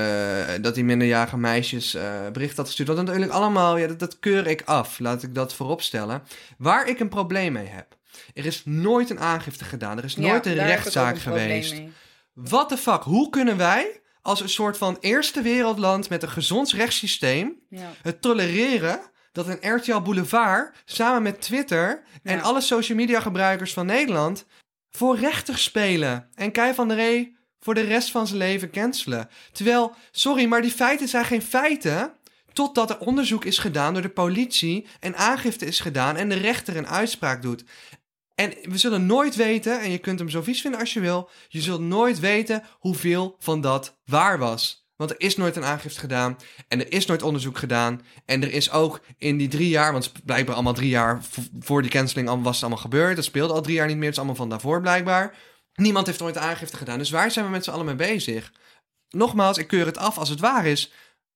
C: dat die minderjarige meisjes eh bericht had gestuurd. Dat natuurlijk allemaal, ja, dat, dat keur ik af. Laat ik dat vooropstellen. Waar ik een probleem mee heb. Er is nooit een aangifte gedaan. Er is nooit
D: Ja,
C: een
D: daar heb ik
C: rechtszaak
D: ook een probleem
C: geweest.
D: mee.
C: What the fuck? Hoe kunnen wij als een soort van eerste wereldland met een gezond rechtssysteem
D: Ja.
C: het tolereren dat een RTL Boulevard samen met Twitter en
D: Ja.
C: alle social media gebruikers van Nederland voor rechter spelen en Kai van der Rey voor de rest van zijn leven cancelen. Terwijl, sorry, maar die feiten zijn geen feiten totdat er onderzoek is gedaan door de politie en aangifte is gedaan en de rechter een uitspraak doet. En we zullen nooit weten, en je kunt hem zo vies vinden als je wil, je zult nooit weten hoeveel van dat waar was. Want er is nooit een aangifte gedaan en er is nooit onderzoek gedaan. En er is ook in die drie jaar, want het is blijkbaar allemaal drie jaar v- voor die canceling al- was het allemaal gebeurd. Dat speelde al drie jaar niet meer, het is allemaal van daarvoor blijkbaar. Niemand heeft ooit aangifte gedaan, dus waar zijn we met z'n allen mee bezig? Nogmaals, ik keur het af als het waar is,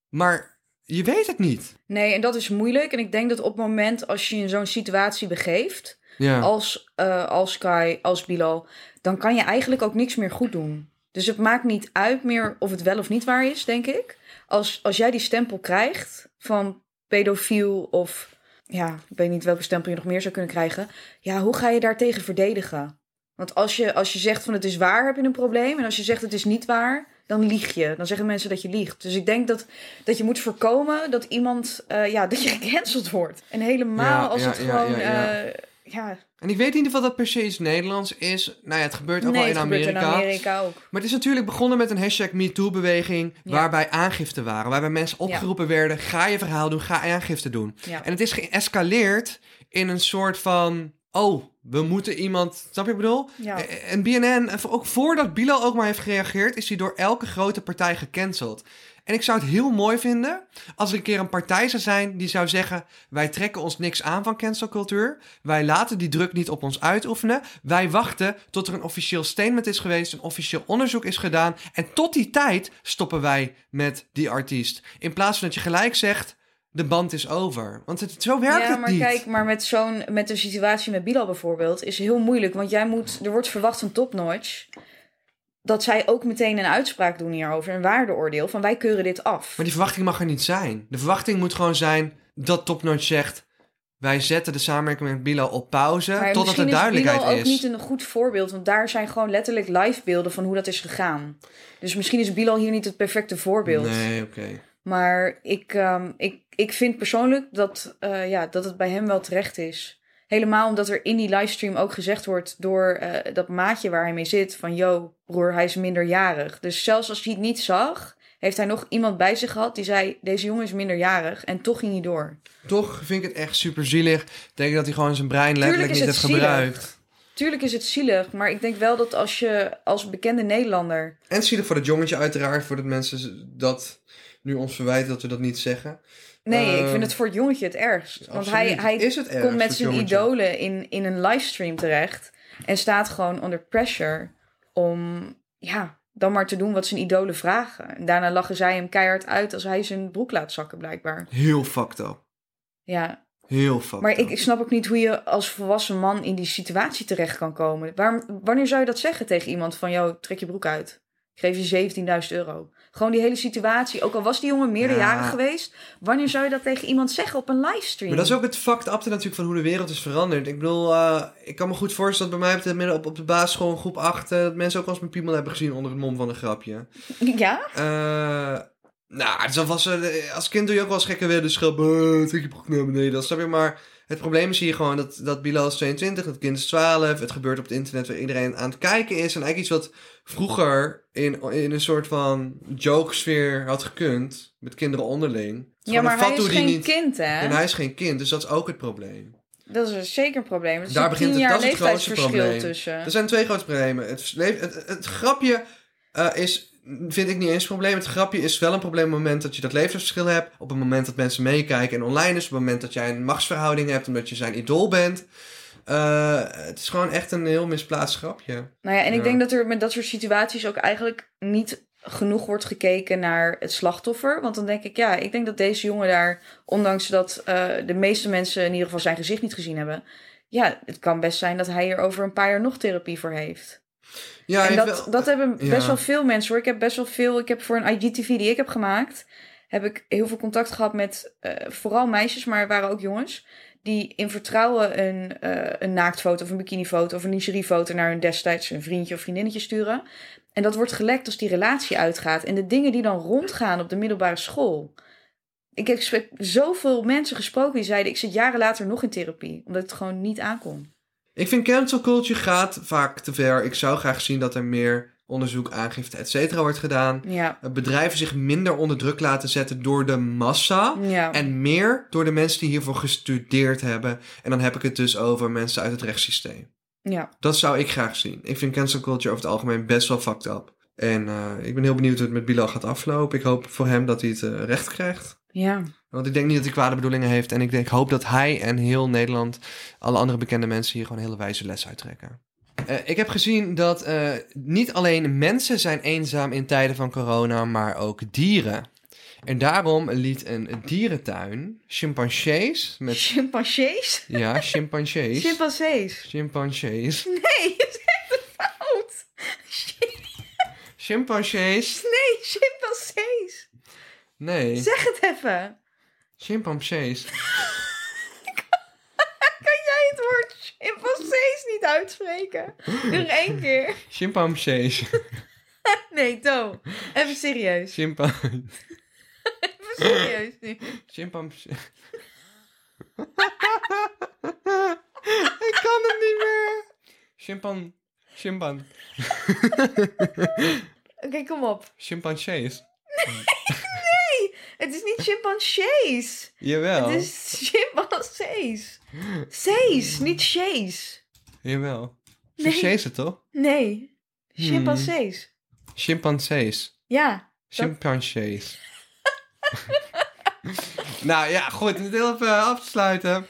C: maar je weet het niet.
D: Nee, en dat is moeilijk. En ik denk dat op het moment als je je in zo'n situatie begeeft,
C: Ja.
D: als, eh, als Kai, als Bilal, dan kan je eigenlijk ook niks meer goed doen. Dus het maakt niet uit meer of het wel of niet waar is, denk ik. Als, als jij die stempel krijgt van pedofiel of ja, ik weet niet welke stempel je nog meer zou kunnen krijgen. Ja, hoe ga je daartegen verdedigen? Want als je, als je zegt van het is waar, heb je een probleem. En als je zegt het is niet waar, dan lieg je. Dan zeggen mensen dat je liegt. Dus ik denk dat, dat je moet voorkomen dat iemand, eh, ja, dat je gecanceld wordt. En helemaal
C: Ja,
D: als
C: ja,
D: het
C: ja, ja,
D: gewoon,
C: ja.
D: eh, ja,
C: En ik weet niet of dat per se iets Nederlands is. Nou ja, het gebeurt ook wel in
D: het
C: Amerika.
D: gebeurt in Amerika ook.
C: Maar het is natuurlijk begonnen met een hashtag MeToo-beweging...
D: Ja.
C: waarbij aangifte waren, waarbij mensen opgeroepen werden... ga je verhaal doen, ga aangifte doen.
D: Ja.
C: En het is geëscaleerd in een soort van... oh, we moeten iemand... snap je wat ik bedoel?
D: Ja.
C: Eh, En BNN, eh, ook voordat Bilal ook maar heeft gereageerd... is hij door elke grote partij gecanceld. En ik zou het heel mooi vinden als er een keer een partij zou zijn die zou zeggen: Wij trekken ons niks aan van cancelcultuur. Wij laten die druk niet op ons uitoefenen. Wij wachten tot er een officieel statement is geweest, een officieel onderzoek is gedaan. En tot die tijd stoppen wij met die artiest. In plaats van dat je gelijk zegt: De band is over. Want het, zo werkt
D: ja,
C: het
D: maar
C: niet.
D: kijk, maar met zo'n met de situatie met Bilal bijvoorbeeld is heel moeilijk, want jij moet er wordt verwacht van topnotch dat zij ook meteen een uitspraak doen hierover, een waardeoordeel van wij keuren dit af.
C: Maar die verwachting mag er niet zijn. De verwachting moet gewoon zijn dat Topnotch zegt. Wij zetten de samenwerking met Bilal op pauze
D: Maar
C: totdat er duidelijkheid
D: Bilal ook
C: is.
D: niet een goed voorbeeld, want daar zijn gewoon letterlijk live beelden van hoe dat is gegaan. Dus misschien is Bilal hier niet het perfecte voorbeeld.
C: Nee, oké.
D: Maar ik, ehm, ik, ik vind persoonlijk dat, eh, ja, dat het bij hem wel terecht is. Helemaal omdat er in die livestream ook gezegd wordt door eh, dat maatje waar hij mee zit: van yo, broer, hij is minderjarig. Dus zelfs als hij het niet zag, heeft hij nog iemand bij zich gehad die zei: deze jongen is minderjarig. En toch ging hij door.
C: Toch vind ik het echt super zielig. Ik denk dat hij gewoon zijn brein letterlijk
D: Tuurlijk is
C: niet heeft
D: het zielig.
C: gebruikt.
D: Tuurlijk is het zielig, maar ik denk wel dat als je als bekende Nederlander.
C: En zielig voor dat jongetje uiteraard. Voordat mensen z- dat nu ons verwijten dat we dat niet zeggen.
D: Nee, ik
C: Ehm,
D: vind het voor het jongetje het ergst. Want hij,
C: absoluut.
D: hij
C: Is het erg
D: komt
C: voor
D: met
C: het
D: zijn
C: jongetje?
D: idolen in, in een livestream terecht. En staat gewoon onder pressure om ja, dan maar te doen wat zijn idolen vragen. En daarna lachen zij hem keihard uit als hij zijn broek laat zakken, blijkbaar.
C: Heel fucked up.
D: Ja,
C: Heel fucked
D: maar ik,
C: up.
D: ik snap ook niet hoe je als volwassen man in die situatie terecht kan komen. Waar, wanneer zou je dat zeggen tegen iemand van, joh, trek je broek uit. Ik geef je 17.000 euro. Gewoon die hele situatie, ook al was die jongen meerderjarig
C: Ja.
D: geweest. Wanneer zou je dat tegen iemand zeggen op een livestream?
C: Maar dat is ook het fucked up natuurlijk van hoe de wereld is veranderd. Ik bedoel, eh, ik kan me goed voorstellen dat bij mij op de, midden- op, op de basisschool in groep 8... eh, dat mensen ook wel eens mijn piemel hebben gezien onder het mom van een grapje.
D: Ja?
C: Eh, nou, het is alvast, eh, als kind doe je ook wel eens gekke willen schrappen. eh, Trek je broek naar beneden, dat snap je. Maar het probleem is hier gewoon dat, dat Bilal is 22, dat kind is 12. Het gebeurt op het internet waar iedereen aan het kijken is. En eigenlijk iets wat vroeger in, in een soort van jokesfeer had gekund. Met kinderen onderling. Het is
D: Ja,
C: gewoon
D: maar
C: een
D: hij is
C: fatsoen die
D: geen
C: niet-
D: kind, hè?
C: En hij is geen kind, dus dat is ook het probleem.
D: Dat is zeker een probleem. Er is
C: Daar
D: een
C: begint
D: tien
C: het-
D: jaar
C: dat is het grootste
D: leeftijdsverschil
C: probleem.
D: tussen.
C: Er zijn twee grote problemen. Het, le- het, het grapje eh, is, vind ik niet eens een probleem. Het grapje is wel een probleem op het moment dat je dat leeftijdsverschil hebt. Op het moment dat mensen meekijken en online is. Op het moment dat jij een machtsverhouding hebt omdat je zijn idool bent. Eh, het is gewoon echt een heel misplaatst grapje.
D: Nou ja, en ik
C: Ja.
D: denk dat er met dat soort situaties ook eigenlijk niet genoeg wordt gekeken naar het slachtoffer. Want dan denk ik, ja, ik denk dat deze jongen daar, ondanks dat eh, de meeste mensen in ieder geval zijn gezicht niet gezien hebben. Ja, het kan best zijn dat hij er over een paar jaar nog therapie voor heeft.
C: Ja, hij
D: en
C: heeft
D: dat,
C: wel-
D: dat hebben
C: ja.
D: best wel veel mensen hoor. Ik heb best wel veel. Ik heb voor een IGTV die ik heb gemaakt, heb ik heel veel contact gehad met eh, vooral meisjes, maar er waren ook jongens. Die in vertrouwen een, eh, een naaktfoto of een bikinifoto of een lingeriefoto naar hun destijds een vriendje of vriendinnetje sturen. En dat wordt gelekt als die relatie uitgaat. En de dingen die dan rondgaan op de middelbare school. Ik heb gesprek- zoveel mensen gesproken die zeiden: Ik zit jaren later nog in therapie. Omdat het gewoon niet aankomt.
C: Ik vind cancel culture gaat vaak te ver. Ik zou graag zien dat er meer onderzoek, aangifte, et cetera wordt gedaan.
D: Ja.
C: Eh, Bedrijven zich minder onder druk laten zetten door de massa.
D: ja.
C: En meer door de mensen die hiervoor gestudeerd hebben. En dan heb ik het dus over mensen uit het rechtssysteem.
D: ja.
C: Dat zou ik graag zien. Ik vind cancel culture over het algemeen best wel fucked up. En eh, ik ben heel benieuwd hoe het met Bilal gaat aflopen. Ik hoop voor hem dat hij het eh, recht krijgt.
D: Ja.
C: Want ik denk niet dat hij kwade bedoelingen heeft. En ik, denk, ik hoop dat hij en heel Nederland, alle andere bekende mensen hier gewoon hele wijze les uittrekken. Eh, ik heb gezien dat eh, niet alleen mensen zijn eenzaam in tijden van corona, maar ook dieren. En daarom liet een dierentuin chimpansees met...
D: Chimpansees?
C: ja, chimpansees.
D: Chimpansees.
C: chimpansees.
D: Nee, je zegt het fout.
C: Chimpansees.
D: Nee, chimpansees.
C: Nee,
D: Zeg het even.
C: chimpansees.
D: Kan jij het woord chimpansees niet uitspreken? Nog één keer.
C: Chimpansees.
D: Nee, To. Even serieus.
C: Chimpa
D: Even serieus nu.
C: chimpansees. Ik kan het niet meer. Chimpan... Chimpan...
D: Oké, kom op.
C: Chimpansees.
D: Het is niet chimpansees.
C: Jawel.
D: Het is chimpansees. Sees, niet chees.
C: Jawel.
D: Nee.
C: Chimpansees het toch?
D: Nee, chimpansees.
C: Chimpansees.
D: Ja.
C: Chimpansees. nou ja, goed. Om het heel even eh, af te sluiten.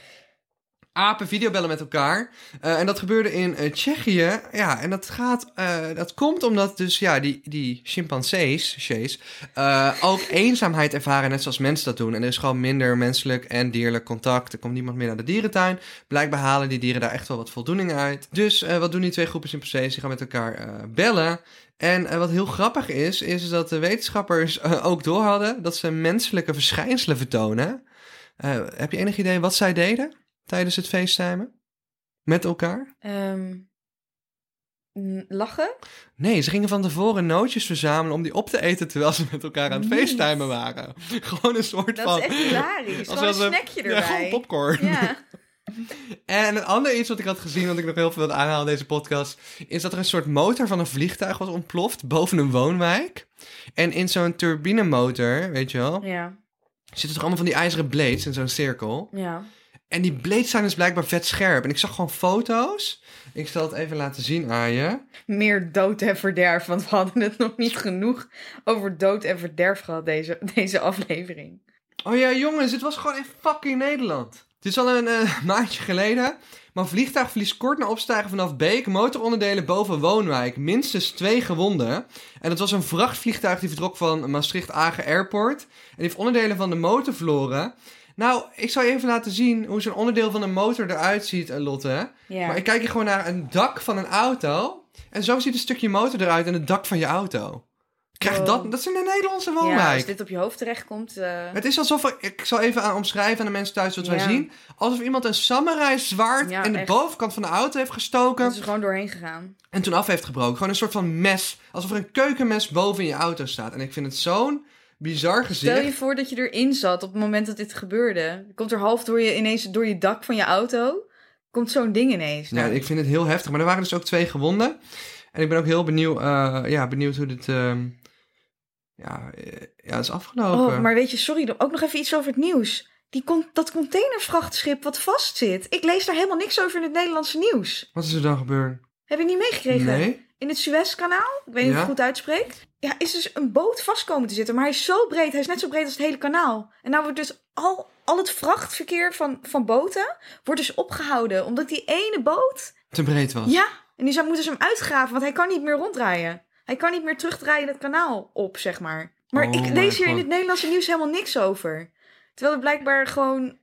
C: Apen videobellen met elkaar. Eh, en dat gebeurde in eh, Tsjechië. Ja, en dat, gaat, eh, dat komt omdat dus ja, die, die chimpansees sjees, eh, ook eenzaamheid ervaren, net zoals mensen dat doen. En er is gewoon minder menselijk en dierlijk contact. Er komt niemand meer naar de dierentuin. Blijkbaar halen die dieren daar echt wel wat voldoening uit. Dus eh, wat doen die twee groepen chimpansees? Die gaan met elkaar eh, bellen. En eh, wat heel grappig is, is dat de wetenschappers eh, ook door hadden dat ze menselijke verschijnselen vertonen. Eh, heb je enig idee wat zij deden tijdens het feesttijmen? Met elkaar?
D: Ehm, n- lachen?
C: Nee, ze gingen van tevoren nootjes verzamelen om die op te eten terwijl ze met elkaar aan het
D: Niet.
C: feesttimen waren. Gewoon een soort
D: Dat
C: van...
D: is echt hilarisch. Gewoon een
C: Alsof ze-
D: snackje
C: Ja, gewoon
D: erbij.
C: popcorn.
D: Ja.
C: En een ander iets wat ik had gezien, wat ik nog heel veel wilde aanhalen in deze podcast, is dat er een soort motor van een vliegtuig was ontploft boven een woonwijk. En in zo'n turbinemotor, weet je wel,
D: Ja,
C: zitten toch allemaal van die ijzeren blades in zo'n cirkel.
D: ja.
C: En die blades zijn dus blijkbaar vet scherp. En ik zag gewoon foto's. Ik zal het even laten zien aan je.
D: Meer dood en verderf, want we hadden het nog niet genoeg over dood en verderf gehad, deze, deze aflevering.
C: Oh ja, jongens, het was gewoon in fucking Nederland. Het is al een eh, maandje geleden. Maar vliegtuig verliest kort na opstijgen vanaf Beek motoronderdelen boven Woonwijk. Minstens twee gewonden. En dat was een vrachtvliegtuig die vertrok van Maastricht-Agen Airport. En die heeft onderdelen van de motor verloren. Nou, ik zal je even laten zien hoe zo'n onderdeel van een motor eruit ziet, eh, Lotte.
D: Ja.
C: Maar ik kijk hier gewoon naar een dak van een auto. En zo ziet een stukje motor eruit en het dak van je auto. Krijg
D: Wow.
C: dat? Dat is in de Nederlandse woonwijk.
D: Oh. ja, als dit op je hoofd terechtkomt. eh
C: Het is alsof er- ik zal even aan omschrijven aan de mensen thuis wat wij
D: Ja.
C: zien. Alsof iemand een samurai zwaard
D: Ja,
C: in de
D: echt.
C: bovenkant van de auto heeft gestoken
D: dat is er gewoon doorheen gegaan.
C: en toen af heeft gebroken. Gewoon een soort van mes. Alsof er een keukenmes boven in je auto staat. En ik vind het zo'n bizar
D: Stel je
C: gezicht.
D: voor dat je erin zat op het moment dat dit gebeurde. Je Komt er half door je, ineens door je dak van je auto, komt zo'n ding ineens.
C: Ja,
D: Nou,
C: ik vind het heel heftig. Maar er waren dus ook twee gewonden. En ik ben ook heel benieuwd, eh, ja, benieuwd hoe dit ehm, ja, eh, ja, is afgelopen.
D: Oh, maar weet je, sorry, ook nog even iets over het nieuws. Die con- dat containervrachtschip wat vastzit. Ik lees daar helemaal niks over in het Nederlandse nieuws.
C: Wat is er dan gebeurd?
D: Heb je niet meegekregen?
C: Nee?
D: in het Suezkanaal. Ik weet niet of ik
C: Ja.
D: het goed uitspreek. Ja, is dus een boot vast komen te zitten. Maar hij is zo breed. Hij is net zo breed als het hele kanaal. En nou wordt dus al, al het vrachtverkeer van, van boten wordt dus opgehouden. Omdat die ene boot...
C: Te breed was.
D: Ja, en die zou moeten ze hem uitgraven. Want hij kan niet meer ronddraaien. Hij kan niet meer terugdraaien het kanaal op, zeg maar. Maar
C: Oh
D: ik
C: my
D: lees hier in
C: God.
D: het Nederlandse nieuws helemaal niks over. Terwijl het blijkbaar gewoon...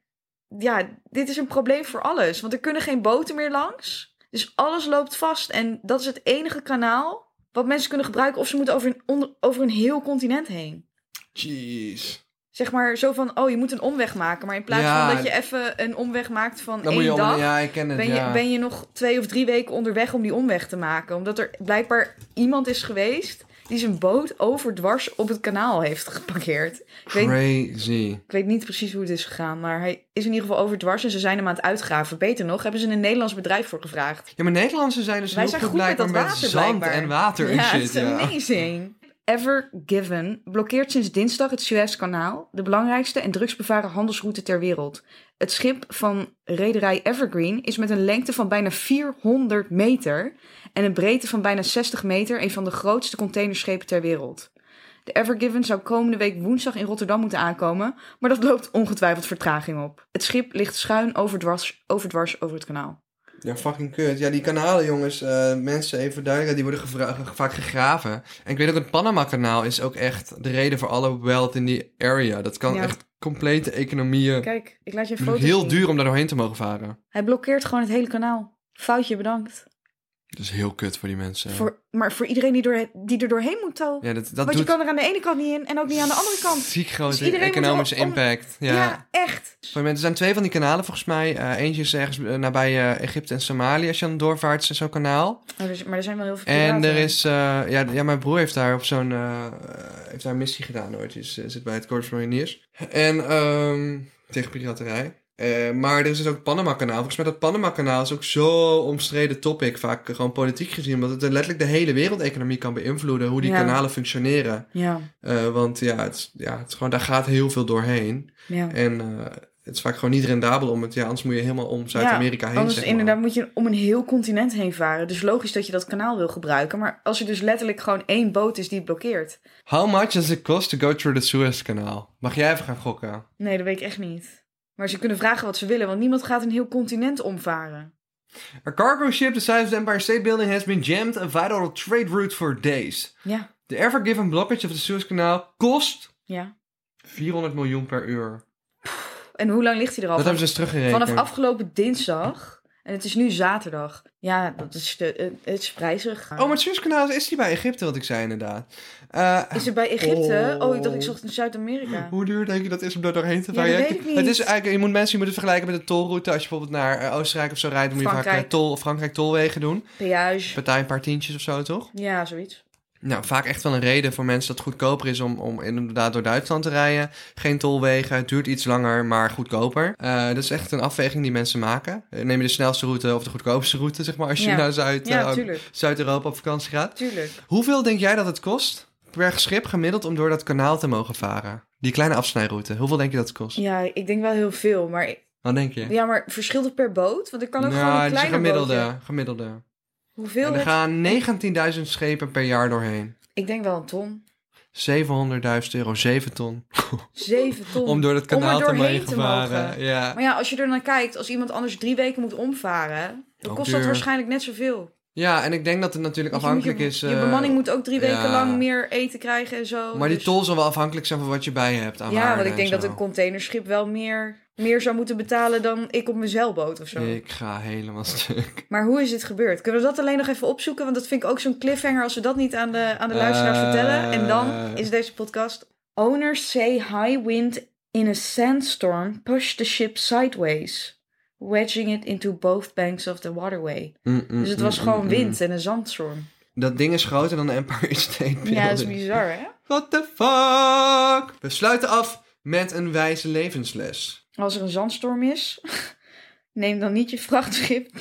D: Ja, dit is een probleem voor alles. Want er kunnen geen boten meer langs. Dus alles loopt vast. En dat is het enige kanaal wat mensen kunnen gebruiken. Of ze moeten over een, onder- over een heel continent heen.
C: Jeez.
D: Zeg maar zo van, oh, je moet een omweg maken. Maar in plaats
C: Ja.
D: van dat je even een omweg maakt van
C: Dan moet
D: één
C: je
D: dag...
C: allemaal... Nou, Ja, ik ken het,
D: Ben je,
C: ja.
D: ben je nog twee of drie weken onderweg om die omweg te maken? Omdat er blijkbaar iemand is geweest die zijn boot overdwars op het kanaal heeft geparkeerd. Ik weet,
C: Crazy.
D: ik weet niet precies hoe het is gegaan, maar hij is in ieder geval overdwars en ze zijn hem aan het uitgraven. Beter nog, hebben ze een Nederlands bedrijf voor gevraagd.
C: Ja, maar Nederlanders zijn dus
D: Wij
C: heel
D: zijn
C: goed
D: goed met
C: blijkbaar
D: dat
C: met,
D: water,
C: zand
D: blijkbaar.
C: en water en
D: ja,
C: shit.
D: it's
C: Ja.
D: amazing. Ever Given blokkeert sinds dinsdag het Suezkanaal, de belangrijkste en drugsbevaren handelsroute ter wereld. Het schip van rederij Evergreen is met een lengte van bijna 400 meter en een breedte van bijna 60 meter een van de grootste containerschepen ter wereld. De Evergiven zou komende week woensdag in Rotterdam moeten aankomen, maar dat loopt ongetwijfeld vertraging op. Het schip ligt schuin overdwars, overdwars over het kanaal.
C: Ja, fucking kut. Ja, die kanalen, jongens, eh, mensen, even duidelijk, die worden gevra- ge- vaak gegraven. En ik weet ook, het Panama-kanaal is ook echt de reden voor alle wealth in die area. Dat kan
D: Ja.
C: echt complete economieën.
D: Kijk, ik laat je een
C: Het is
D: foto
C: heel
D: zien.
C: duur om daar doorheen te mogen varen.
D: Hij blokkeert gewoon het hele kanaal. Foutje bedankt.
C: Dat is heel kut voor die mensen.
D: Voor, maar voor iedereen die, door, die er doorheen moet, Tal.
C: ja, dat, dat
D: Want
C: doet
D: je kan er aan de ene kant niet in en ook niet aan de andere kant.
C: ziek grote
D: Dus iedereen moet
C: economische
D: er om-
C: impact.
D: Ja, echt.
C: Sorry, mensen, er zijn twee van die kanalen volgens mij. Eh, eentje is ergens eh, nabij eh, Egypte en Somalië als je dan doorvaart, is zo'n kanaal.
D: Oh, er is- maar er zijn wel heel veel
C: En
D: piraten.
C: er is, eh, ja, ja, mijn broer heeft daar op zo'n, eh, eh, heeft daar een missie gedaan ooit. Hij is- eh, zit bij het Corps Mariniers. En ehm, tegen piraterij. Eh, maar er is dus ook het Panama-kanaal. Volgens mij dat Panama-kanaal is ook zo omstreden topic, vaak eh, gewoon politiek gezien, omdat het eh, letterlijk de hele wereldeconomie kan beïnvloeden hoe die
D: Ja.
C: kanalen functioneren.
D: Ja,
C: Eh, want ja, het, is- ja het is gewoon, daar gaat heel veel doorheen.
D: ja.
C: En eh, het is vaak gewoon niet rendabel om het. Ja, anders moet je helemaal om Zuid-Amerika heen.
D: Anders
C: zeg maar.
D: inderdaad moet je om een heel continent heen varen. Dus logisch dat je dat kanaal wil gebruiken. Maar als er dus letterlijk gewoon één boot is die het blokkeert.
C: How much does it cost to go through the Suez kanaal? Mag jij even gaan gokken?
D: Nee, dat weet ik echt niet. Maar ze kunnen vragen wat ze willen, want niemand gaat een heel continent omvaren.
C: A cargo ship the size of the Empire State Building has been jammed, a vital trade route for days.
D: Ja,
C: The ever given blockage of the Suez kanaal kost
D: ja.
C: 400 miljoen per uur.
D: En hoe lang ligt hij er al?
C: Dat hebben ze dus teruggerekend.
D: Vanaf afgelopen dinsdag. En het is nu zaterdag. Ja, dat is de, het- het is prijzig.
C: Oh, maar het Suez kanaal is die bij Egypte, wat ik zei inderdaad. Eh,
D: Is het bij Egypte?
C: Oh.
D: Oh, ik dacht ik zocht in Zuid-Amerika.
C: Hoe duur denk je dat is om daar doorheen te
D: Ja,
C: varen?
D: dat
C: Ja,
D: weet
C: ik-
D: ik niet.
C: Het is eigenlijk, je moet mensen je moet het vergelijken met de tolroute. Als je bijvoorbeeld naar eh, Oostenrijk of zo rijdt, dan moet je vaak
D: Frankrijk.
C: eh, tol, Frankrijk tolwegen doen.
D: Peage.
C: Betaal je een paar tientjes of zo, toch?
D: Ja, zoiets.
C: Nou, vaak echt wel een reden voor mensen dat het goedkoper is om, om inderdaad door Duitsland te rijden. Geen tolwegen, het duurt iets langer, maar goedkoper. Eh, dat is echt een afweging die mensen maken. Eh, Neem je de snelste route of de goedkoopste route, zeg maar, als je
D: Ja.
C: naar Zuid,
D: Ja,
C: eh,
D: tuurlijk.
C: Zuid-Europa op vakantie gaat.
D: Tuurlijk.
C: Hoeveel denk jij dat het kost per schip gemiddeld om door dat kanaal te mogen varen? Die kleine afsnijroute, hoeveel denk je dat het kost?
D: Ja, ik denk wel heel veel. Maar, ik-
C: Wat denk je?
D: ja, maar verschilt het per boot? Want ik kan ook
C: Nou,
D: gewoon een
C: dit is een
D: kleiner
C: gemiddelde.
D: bootje.
C: gemiddelde. En
D: Hoeveel?
C: er
D: het-
C: gaan 19.000 schepen per jaar doorheen.
D: Ik denk wel een ton.
C: 700.000 euro, 7 ton.
D: Zeven ton.
C: Om door dat
D: Om er
C: kanaal te
D: doorheen
C: mogen
D: te
C: varen.
D: mogen.
C: Ja.
D: Maar ja, als je er naar kijkt, als iemand anders drie weken moet omvaren, dan
C: Ook
D: kost
C: duur.
D: dat waarschijnlijk net zoveel.
C: ja, en ik denk dat het natuurlijk
D: Want je moet
C: afhankelijk
D: je,
C: is...
D: Je
C: eh,
D: bemanning moet ook drie weken
C: ja.
D: lang meer eten krijgen en zo.
C: Maar die
D: dus-
C: tol zal wel afhankelijk zijn van wat je bij je hebt aan
D: Ja,
C: waarde
D: want ik
C: en
D: denk dat
C: zo.
D: een containerschip wel meer, meer zou moeten betalen dan ik op mijn zeilboot of zo.
C: Ik ga helemaal stuk.
D: Maar hoe is dit gebeurd? Kunnen we dat alleen nog even opzoeken? Want dat vind ik ook zo'n cliffhanger als we dat niet aan de, aan de luisteraar
C: Eh.
D: vertellen. En dan is deze podcast. Owners say high wind in a sandstorm pushed the ship sideways, wedging it into both banks of the waterway.
C: Mm, mm,
D: Dus het
C: mm,
D: was
C: mm,
D: gewoon
C: mm.
D: wind en een zandstorm.
C: Dat ding is groter dan de Empire State Building.
D: Ja, dat is bizar, hè?
C: What the fuck? We sluiten af met een wijze levensles.
D: Als er een zandstorm is, neem dan niet je vrachtschip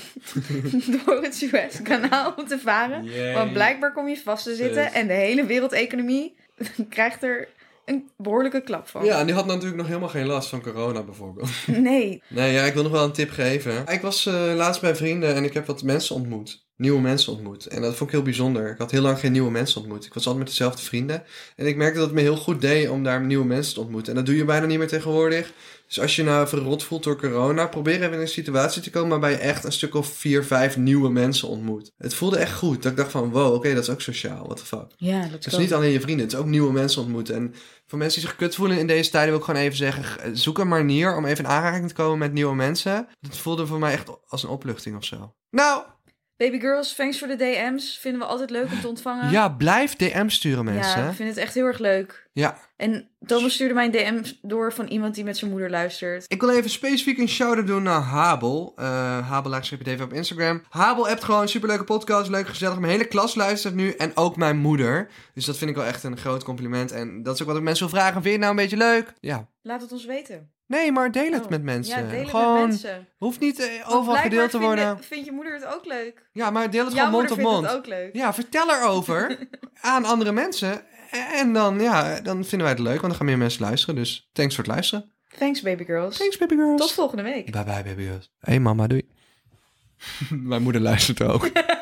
D: door het Suezkanaal om te varen.
C: Jee.
D: Want blijkbaar kom je vast te zitten
C: Zus.
D: en de hele wereldeconomie krijgt er een behoorlijke klap van.
C: Ja, en die had natuurlijk nog helemaal geen last van corona bijvoorbeeld.
D: Nee,
C: Nee, ja, ik wil nog wel een tip geven. Ik was eh, laatst bij vrienden en ik heb wat mensen ontmoet. nieuwe mensen ontmoet. En dat vond ik heel bijzonder. Ik had heel lang geen nieuwe mensen ontmoet. Ik was altijd met dezelfde vrienden. En ik merkte dat het me heel goed deed om daar nieuwe mensen te ontmoeten. En dat doe je bijna niet meer tegenwoordig. Dus als je nou verrot voelt door corona, probeer even in een situatie te komen waarbij je echt een stuk of vier, vijf nieuwe mensen ontmoet. Het voelde echt goed. Dat ik dacht van, wow, oké, dat is ook sociaal. What the fuck.
D: Ja, dat
C: Het is niet alleen je vrienden, het is ook nieuwe mensen ontmoeten. En voor mensen die zich kut voelen in deze tijden wil ik gewoon even zeggen... zoek een manier om even in aanraking te komen met nieuwe mensen. Dat voelde voor mij echt als een opluchting of zo. Nou,
D: Baby girls, thanks voor de DM's. Vinden we altijd leuk om te ontvangen.
C: ja, blijf DM sturen
D: Ja,
C: mensen.
D: ik vind het echt heel erg leuk.
C: ja.
D: En Thomas stuurde mij een DM door van iemand die met zijn moeder luistert.
C: Ik wil even specifiek een shout-out doen naar Habel. Eh Habel laagstreepje Dave op Instagram. Habel hebt gewoon een superleuke podcast. Leuk, gezellig. Mijn hele klas luistert nu. En ook mijn moeder. Dus dat vind ik wel echt een groot compliment. En dat is ook wat ik mensen wil vragen. Vind je het nou een beetje leuk? Ja.
D: Laat het ons weten.
C: Nee, maar deel het
D: Oh.
C: met mensen.
D: Ja, deel het
C: gewoon,
D: met mensen.
C: hoeft niet eh,
D: Want
C: overal
D: blijkbaar
C: gedeeld te worden.
D: vinden- Vindt je moeder het ook leuk?
C: Ja, maar deel het
D: Jouw
C: gewoon mond
D: moeder
C: op
D: vindt
C: mond.
D: het ook leuk.
C: Ja, vertel erover aan andere mensen. Eh, En dan, ja, dan vinden wij het leuk, want dan gaan meer mensen luisteren. Dus thanks voor het luisteren.
D: Thanks, baby girls.
C: Thanks, baby girls.
D: Tot volgende week.
C: Bye bye, baby girls. Hey, mama, doei. Mijn moeder luistert ook.